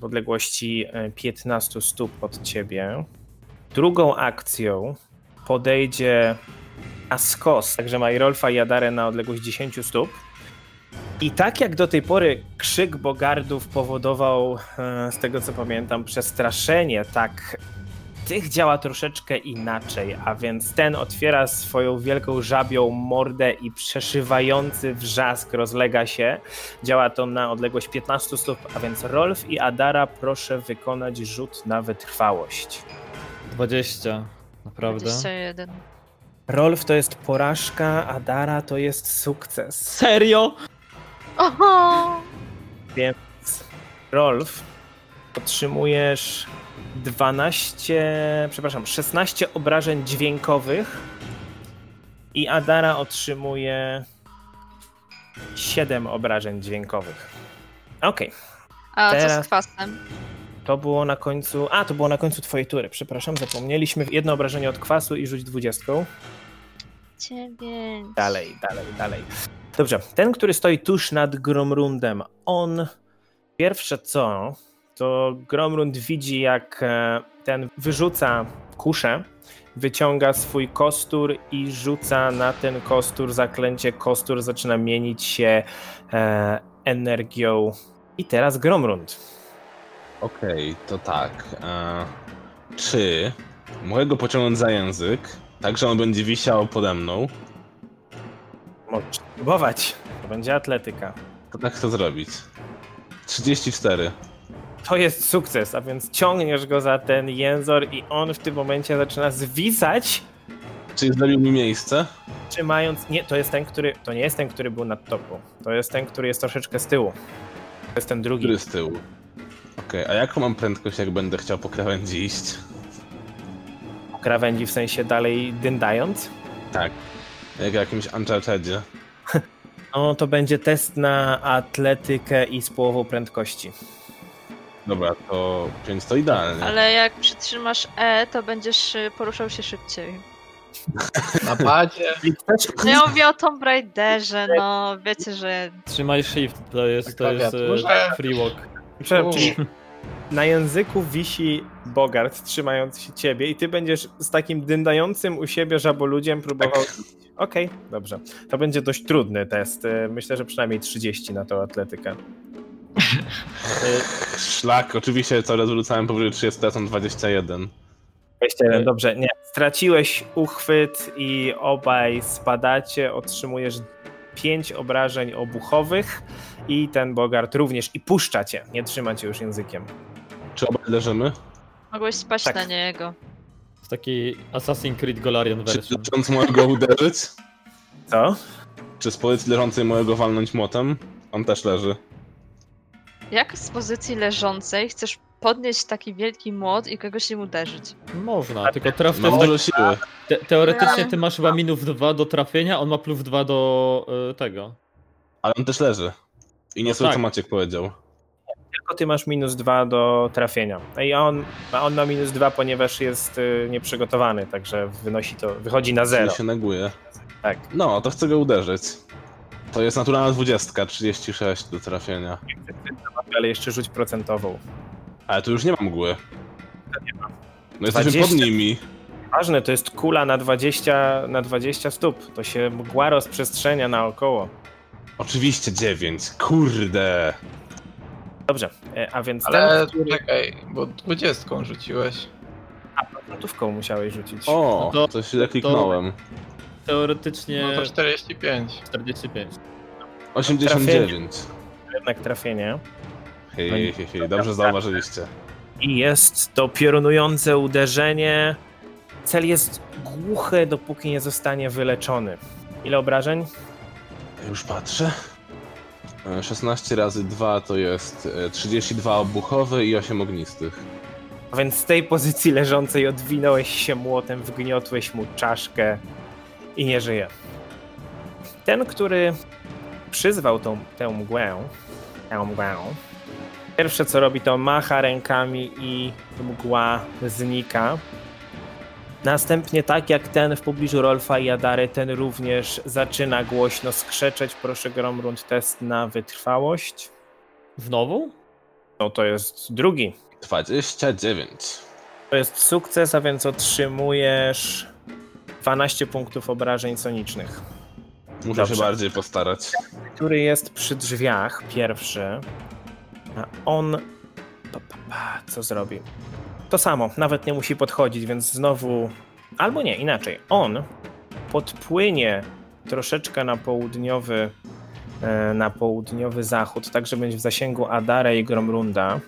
w odległości e, 15 stóp od ciebie. Drugą akcją podejdzie Askos, także ma i Rolfa i Adarę na odległość 10 stóp. I tak jak do tej pory krzyk bogardów powodował, e, z tego co pamiętam, przestraszenie, tak tych działa troszeczkę inaczej, a więc ten otwiera swoją wielką żabią mordę i przeszywający wrzask rozlega się. Działa to na odległość 15 stóp, a więc Rolf i Adara proszę wykonać rzut na wytrwałość.
20. Naprawdę?
21.
Rolf to jest porażka, Adara to jest sukces.
Serio?
Oho!
Rolf, otrzymujesz 12, przepraszam, 16 obrażeń dźwiękowych i Adara otrzymuje 7 obrażeń dźwiękowych. Okej,
A co
Teraz-
z kwasem?
to było na końcu. A, to było na końcu twojej tury, przepraszam, zapomnieliśmy. Jedno obrażenie od kwasu i rzuć 20.
9.
Dalej, dalej, dalej. Dobrze, ten, który stoi tuż nad Gromrundem, on pierwsze co, to Gromrund widzi jak e, ten wyrzuca kuszę, wyciąga swój kostur i rzuca na ten kostur zaklęcie. Kostur zaczyna mienić się e, energią. I teraz Gromrund.
Okej, to tak. E, czy mogę go pociągnąć za język, tak że on będzie wisiał pode mną?
Możesz próbować. To będzie atletyka.
To tak chcę zrobić. 34.
To jest sukces, a więc ciągniesz go za ten jęzor i on w tym momencie zaczyna zwisać
Czyli zrobił mi miejsce?
trzymając. Nie, to jest ten, który. To nie jest ten, który był nad topu. To jest ten, który jest troszeczkę z tyłu. To jest ten drugi.
Który z tyłu? Okej, a jaką mam prędkość, jak będę chciał po krawędzi iść?
Po krawędzi w sensie dalej dyndając.
Jak w jakimś Unchartedzie.
No to będzie test na atletykę i z połową prędkości.
Dobra, to 5 to idealnie.
Ale jak przytrzymasz E, to będziesz y, poruszał się szybciej.
Na padzie.
No ja mówię o Tomb Raiderze, no wiecie, że
Trzymaj shift, to jest, to jest e,
Klawiaturze.
free walk.
Przepraszam,
U.
czyli na języku wisi Bogart trzymając się ciebie i ty będziesz z takim dyndającym u siebie żaboludziem próbował. Okej, dobrze. To będzie dość trudny test. y, Myślę, że przynajmniej 30 na tą atletykę.
Szlak, oczywiście coraz wrócałem powyżej 30, to są 21.
21, dobrze, nie. Straciłeś uchwyt i obaj spadacie, otrzymujesz 5 obrażeń obuchowych i ten Bogart również i puszcza cię, nie trzyma cię już językiem.
Czy obaj leżymy?
Mogłeś spaść
Tak.
na niego.
To taki Assassin's Creed Golarion
Czy
version.
leżąc mojego uderzyć?
Co?
Czy z pozycji leżącej mojego walnąć młotem? On też leży.
Jak z pozycji leżącej chcesz podnieść taki wielki młot i kogoś nim uderzyć?
Można, tylko traf
Ma
też tak,
dużo No, siły.
te, teoretycznie ty masz chyba minus 2 do trafienia, on ma plus 2 do y, tego.
Ale on też leży. I nie słyszę,
tak.
co Maciek powiedział.
Tylko ty masz minus 2 do trafienia. No I on, a on ma minus 2, ponieważ jest y, nieprzygotowany, także wynosi to, wychodzi na
Czyli
0.
się neguje.
Tak.
No, to chcę go uderzyć. To jest naturalna 20, 36 do trafienia.
Ale jeszcze rzuć procentową.
Ale tu już nie ma mgły. No jesteśmy
20.
pod nimi.
Ważne, to jest kula na 20, na 20 stóp. To się mgła rozprzestrzenia naokoło.
Oczywiście 9. Kurde.
Dobrze, e, a więc
Ale
Ale...
czekaj, bo dwudziestką rzuciłeś.
gotówką musiałeś rzucić.
O,
No to-
coś źle kliknąłem.
Teoretycznie
No to 45.
45.
89.
Jednak trafienie.
Hej, hej, hej, hej, dobrze zauważyliście.
I jest to piorunujące uderzenie. Cel jest głuchy, dopóki nie zostanie wyleczony. Ile obrażeń?
Już patrzę. E, 16 razy 2 to jest e, 32 obuchowe i 8 ognistych.
A więc z tej pozycji leżącej odwinąłeś się młotem, wgniotłeś mu czaszkę i nie żyje. Ten, który przyzwał tą, tę mgłę, tę mgłę, pierwsze co robi to macha rękami i mgła znika. Następnie tak jak ten w pobliżu Rolfa i Adary, ten również zaczyna głośno skrzeczeć. Proszę Gromrund test na wytrwałość.
Znowu?
No to jest drugi
29.
To jest sukces, a więc otrzymujesz 12 punktów obrażeń sonicznych.
Muszę
Dobrze.
się bardziej postarać.
Który jest przy drzwiach, pierwszy. A on. Pa, pa, pa, co zrobi? To samo, nawet nie musi podchodzić, więc znowu. Albo nie, inaczej. On podpłynie troszeczkę na południowy. e, Na południowy zachód, tak że będzie w zasięgu Adara i Gromrunda.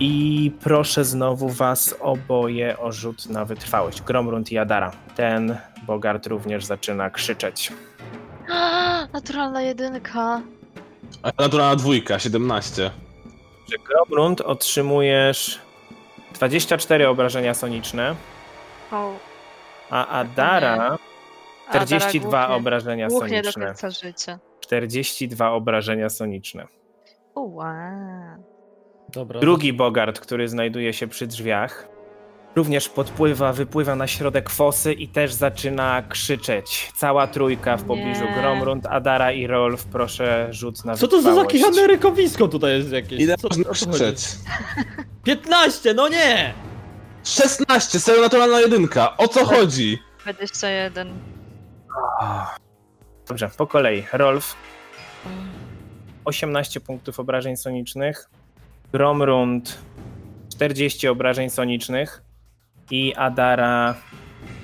I proszę znowu was oboje o rzut na wytrwałość. Gromrund i Adara. Ten Bogart również zaczyna krzyczeć.
Naturalna jedynka.
A Naturalna dwójka, 17.
że Gromrund otrzymujesz 24 obrażenia soniczne,
O,
a Adara
a Dara
42
głuchnie-
obrażenia
Głuchnie do
soniczne.
końca życia.
42 obrażenia soniczne.
Uła.
Dobra.
Drugi Bogart, który znajduje się przy drzwiach, również podpływa, wypływa na środek fosy i też zaczyna krzyczeć. Cała trójka w pobliżu
Nie.
Gromrund, Adara i Rolf, proszę rzut na
Co to za
wytrwałość.
jakieś amerykowisko tutaj jest jakieś?
Ile
Co,
można
o co chodzi?
krzyczeć?
15, no nie!
16, serio naturalna jedynka, o
Tak.
co chodzi?
21.
Dobrze, po kolei. Rolf. 18 punktów obrażeń sonicznych. Gromrund 40 obrażeń sonicznych. I Adara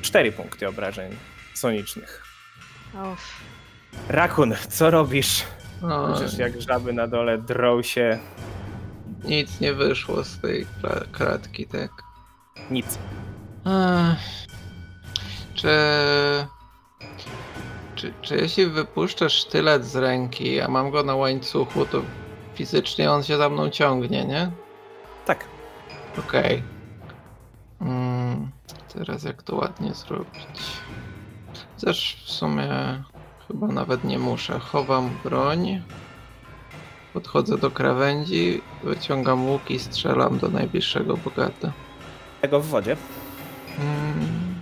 4 punkty obrażeń sonicznych.
Uff.
Rakun, co robisz?
No,
Słyszysz jak żaby na dole drą się.
nic nie wyszło z tej kla- kratki, tak.
Nic.
Ech. Czy... Czy, czy jeśli wypuszczę sztylet z ręki, a mam go na łańcuchu, to fizycznie on się za mną ciągnie, nie?
Tak.
Okej. Mm, teraz jak to ładnie zrobić? Też w sumie chyba nawet nie muszę. Chowam broń, podchodzę do krawędzi, wyciągam łuk i strzelam do najbliższego bogata.
Tego w wodzie.
Mm,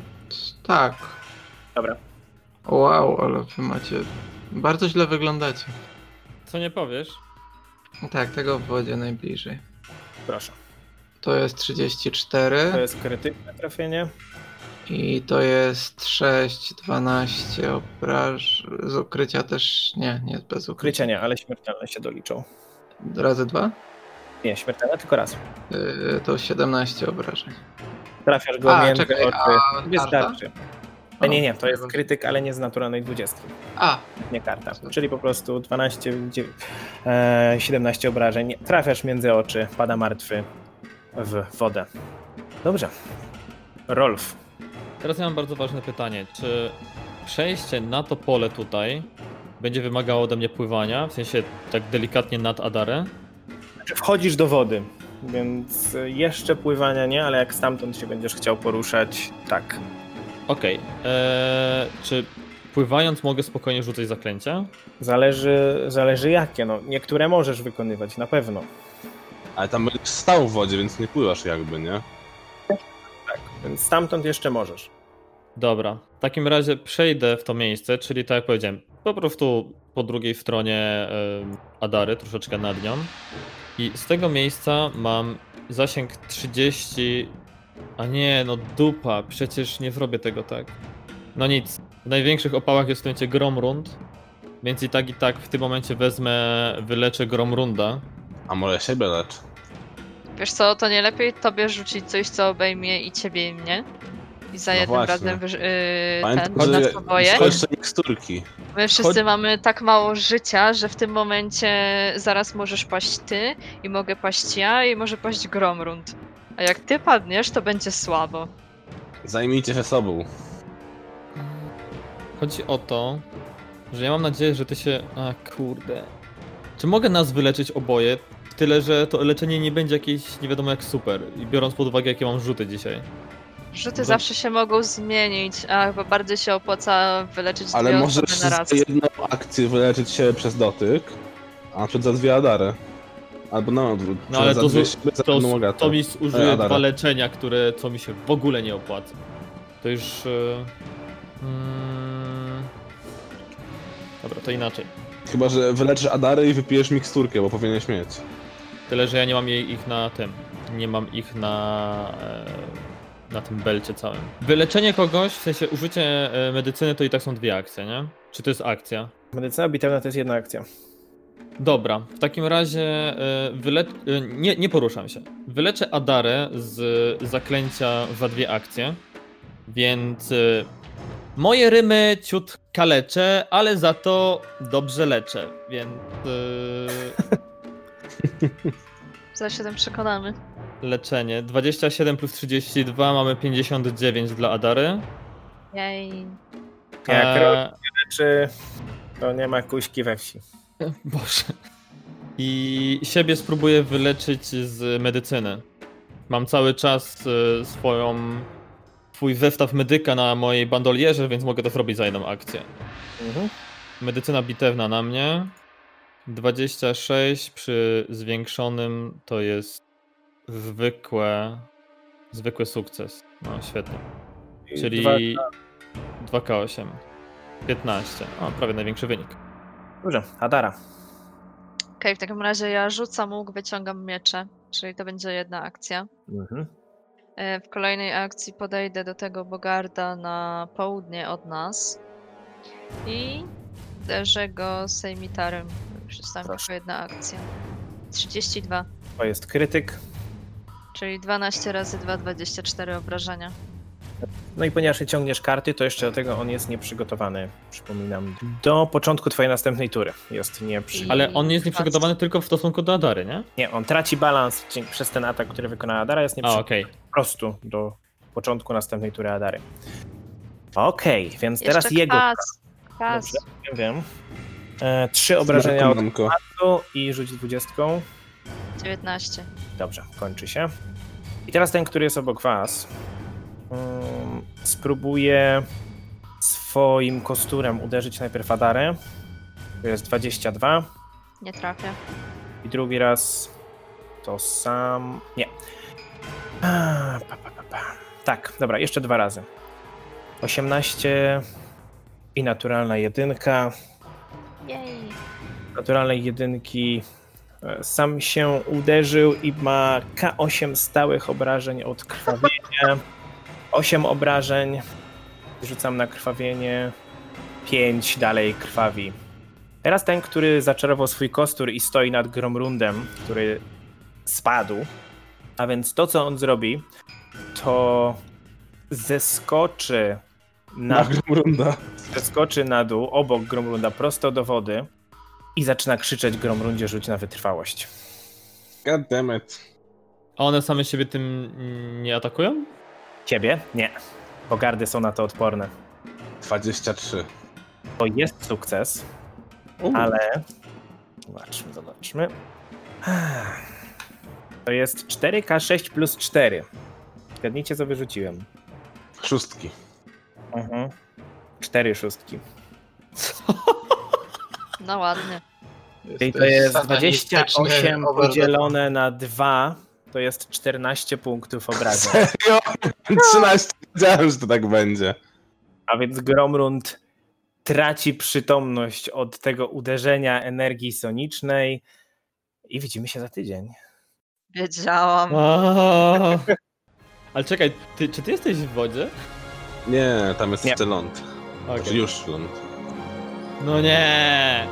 tak.
Dobra.
Wow, ale wy macie... Bardzo źle wyglądacie.
Co nie powiesz?
Tak, tego w wodzie najbliżej.
Proszę.
To jest 34.
To jest krytyczne trafienie.
I to jest 6, 12 obraż. Z ukrycia też. Nie, nie bez ukrycia.
Krycia nie, ale śmiertelne się doliczą.
Razy 2?
Nie, śmiertelne tylko raz.
to 17 obrażeń.
Trafiasz go
A,
między
czekaj,
oczy.
a
Wystarczy.
O,
E, Nie, nie, to jest
dobra.
krytyk, ale nie z naturalnej 20.
A,
nie karta. Czyli po prostu 12, dziew- e, 17 obrażeń. Trafiasz między oczy, pada martwy w wodę. Dobrze. Rolf.
Teraz ja mam bardzo ważne pytanie. Czy przejście na to pole tutaj będzie wymagało ode mnie pływania? W sensie tak delikatnie nad Adarę?
Znaczy, Wchodzisz do wody, więc e, jeszcze pływania nie, ale jak stamtąd się będziesz chciał poruszać, tak.
Okej. Eee, czy pływając mogę spokojnie rzucać zaklęcia?
Zależy, zależy jakie. No, niektóre możesz wykonywać, na pewno.
Ale tam będziesz stał w wodzie, więc nie pływasz jakby, nie?
Więc stamtąd jeszcze możesz.
Dobra. W takim razie przejdę w to miejsce, czyli tak jak powiedziałem, po prostu po drugiej stronie em, Adary, troszeczkę nad nią. I z tego miejsca mam zasięg 30. A nie, no dupa, przecież nie zrobię tego tak. No nic. W największych opałach jest w tym momencie Gromrund, więc i tak i tak w tym momencie wezmę, wyleczę Gromrunda.
A może siebie lecz.
Wiesz co, to nie lepiej tobie rzucić coś, co obejmie i ciebie i mnie? I za
No
jednym
właśnie.
razem wyż- yy, ten,
Pamiętam,
nas
że
oboje.
są jeszcze miksturki.
My wszyscy
Chodź-
mamy tak mało życia, że w tym momencie zaraz możesz paść ty i mogę paść ja i może paść Gromrund. A jak ty padniesz, to będzie słabo.
Zajmijcie się sobą.
Chodzi o to, że ja mam nadzieję, że ty się. A kurde. Czy mogę nas wyleczyć oboje? Tyle, że to leczenie nie będzie jakieś nie wiadomo jak super. I biorąc pod uwagę, jakie mam rzuty dzisiaj.
Rzuty
Może-
zawsze się mogą zmienić, a chyba bardziej się opłaca wyleczyć
Ale
dwie
możesz
osoby na
za
raz.
jedną akcję wyleczyć się przez dotyk, a na przykład za dwie adary. Albo na odwrót.
No ale
za
to,
dwie
zu-
siebie, za
to,
jedną
to,
agatę.
mi
Ej,
zużyje
Adara.
dwa leczenia, które co mi się w ogóle nie opłaca. To już. e, Mm... Dobra, to inaczej.
Chyba, że wyleczysz adary i wypijesz miksturkę, bo powinieneś mieć.
Tyle, że ja nie mam jej, ich na tym. Nie mam ich na. e, na tym belcie całym. Wyleczenie kogoś, w sensie użycie e, medycyny, to i tak są dwie akcje, nie? Czy to jest akcja?
Medycyna bitewna to jest jedna akcja.
Dobra, w takim razie e, wyle... e, nie, nie poruszam się. Wyleczę Adarę z zaklęcia za dwie akcje, więc e, moje rymy ciut kaleczę, ale za to dobrze leczę, więc e,
Za siedem przekonamy.
leczenie. 27 plus 32 mamy 59 dla Adary.
Jej.
Jak
E,
robię rzeczy, to nie ma kuśki we wsi.
Boże. I siebie spróbuję wyleczyć z medycyny. Mam cały czas y, swoją. swój zestaw medyka na mojej bandolierze, więc mogę to zrobić za jedną akcję.
Mhm.
Medycyna bitewna na mnie. 26 przy zwiększonym to jest zwykłe. zwykły sukces. No świetnie.
I dwa-
Czyli 2K8. 15. O, prawie największy wynik.
Dobrze, Adara.
Okej, w takim razie ja rzucam łuk, wyciągam miecze, czyli to będzie jedna akcja.
Mhm.
E, W kolejnej akcji podejdę do tego Bogarda na południe od nas i uderzę go sejmitarem. Przystałem
Proszę.
tylko jedna akcja. 32,
To jest krytyk.
czyli 12 razy 2, 24 obrażenia.
No i ponieważ nie ciągniesz karty, to jeszcze do tego on jest nieprzygotowany. Przypominam, do początku twojej następnej tury jest nieprzygotowany.
Ale on jest
I
nieprzygotowany tylko w stosunku do Adary, nie?
Nie, on traci balans dzięki- przez ten atak, który wykonała Adara, jest
A,
nieprzygotowany
okej.
po prostu do początku następnej tury Adary. Okej, więc teraz
Jeszcze
jego.
Kwas, kwas.
Dobrze. Wiem, wiem. E, trzy obrażenia od
Manko.
razu i rzuć dwudziestką.
19.
Dobrze, kończy się. I teraz ten, który jest obok was, mm, spróbuje swoim kosturem uderzyć najpierw Adarę. To jest 22.
Nie trafia.
I drugi raz to sam... Nie. Ah, Pa, pa, pa, pa. Tak, dobra, jeszcze dwa razy. 18 i naturalna jedynka.
Jej.
naturalnej jedynki e, sam się uderzył i ma K8 stałych obrażeń od krwawienia. 8 obrażeń. Rzucam na krwawienie. 5 dalej krwawi. Teraz ten, który zaczarował swój kostur i stoi nad Gromrundem, który spadł. A więc to, co on zrobi, to zeskoczy na,
Na Grumrunda.
zeskoczy na dół obok Gromrunda prosto do wody i zaczyna krzyczeć Gromrundzie rzuć na wytrwałość.
God damn it.
A one same siebie tym mm, nie atakują?
Ciebie? Nie, bo gardy są na to odporne.
23.
To jest sukces,
U,
ale zobaczmy, zobaczmy. To jest 4K6 plus 4. Zgadnijcie, co wyrzuciłem.
Szóstki.
Mhm. Cztery szóstki.
No ładnie.
Czyli to
Jesteś
jest
satanistyczny
28
overlord.
podzielone na 2, to jest 14 punktów obrażeń.
Serio? 13. Wiedziałem, że to tak będzie.
A więc Gromrund traci przytomność od tego uderzenia energii sonicznej i widzimy się za tydzień.
Wiedziałam.
Aaaa. Ale czekaj, ty, czy ty jesteś w wodzie?
Nie, tam jest
Nie.
Znaczy jeszcze ląd.
Okej.
Już ląd.
No nie!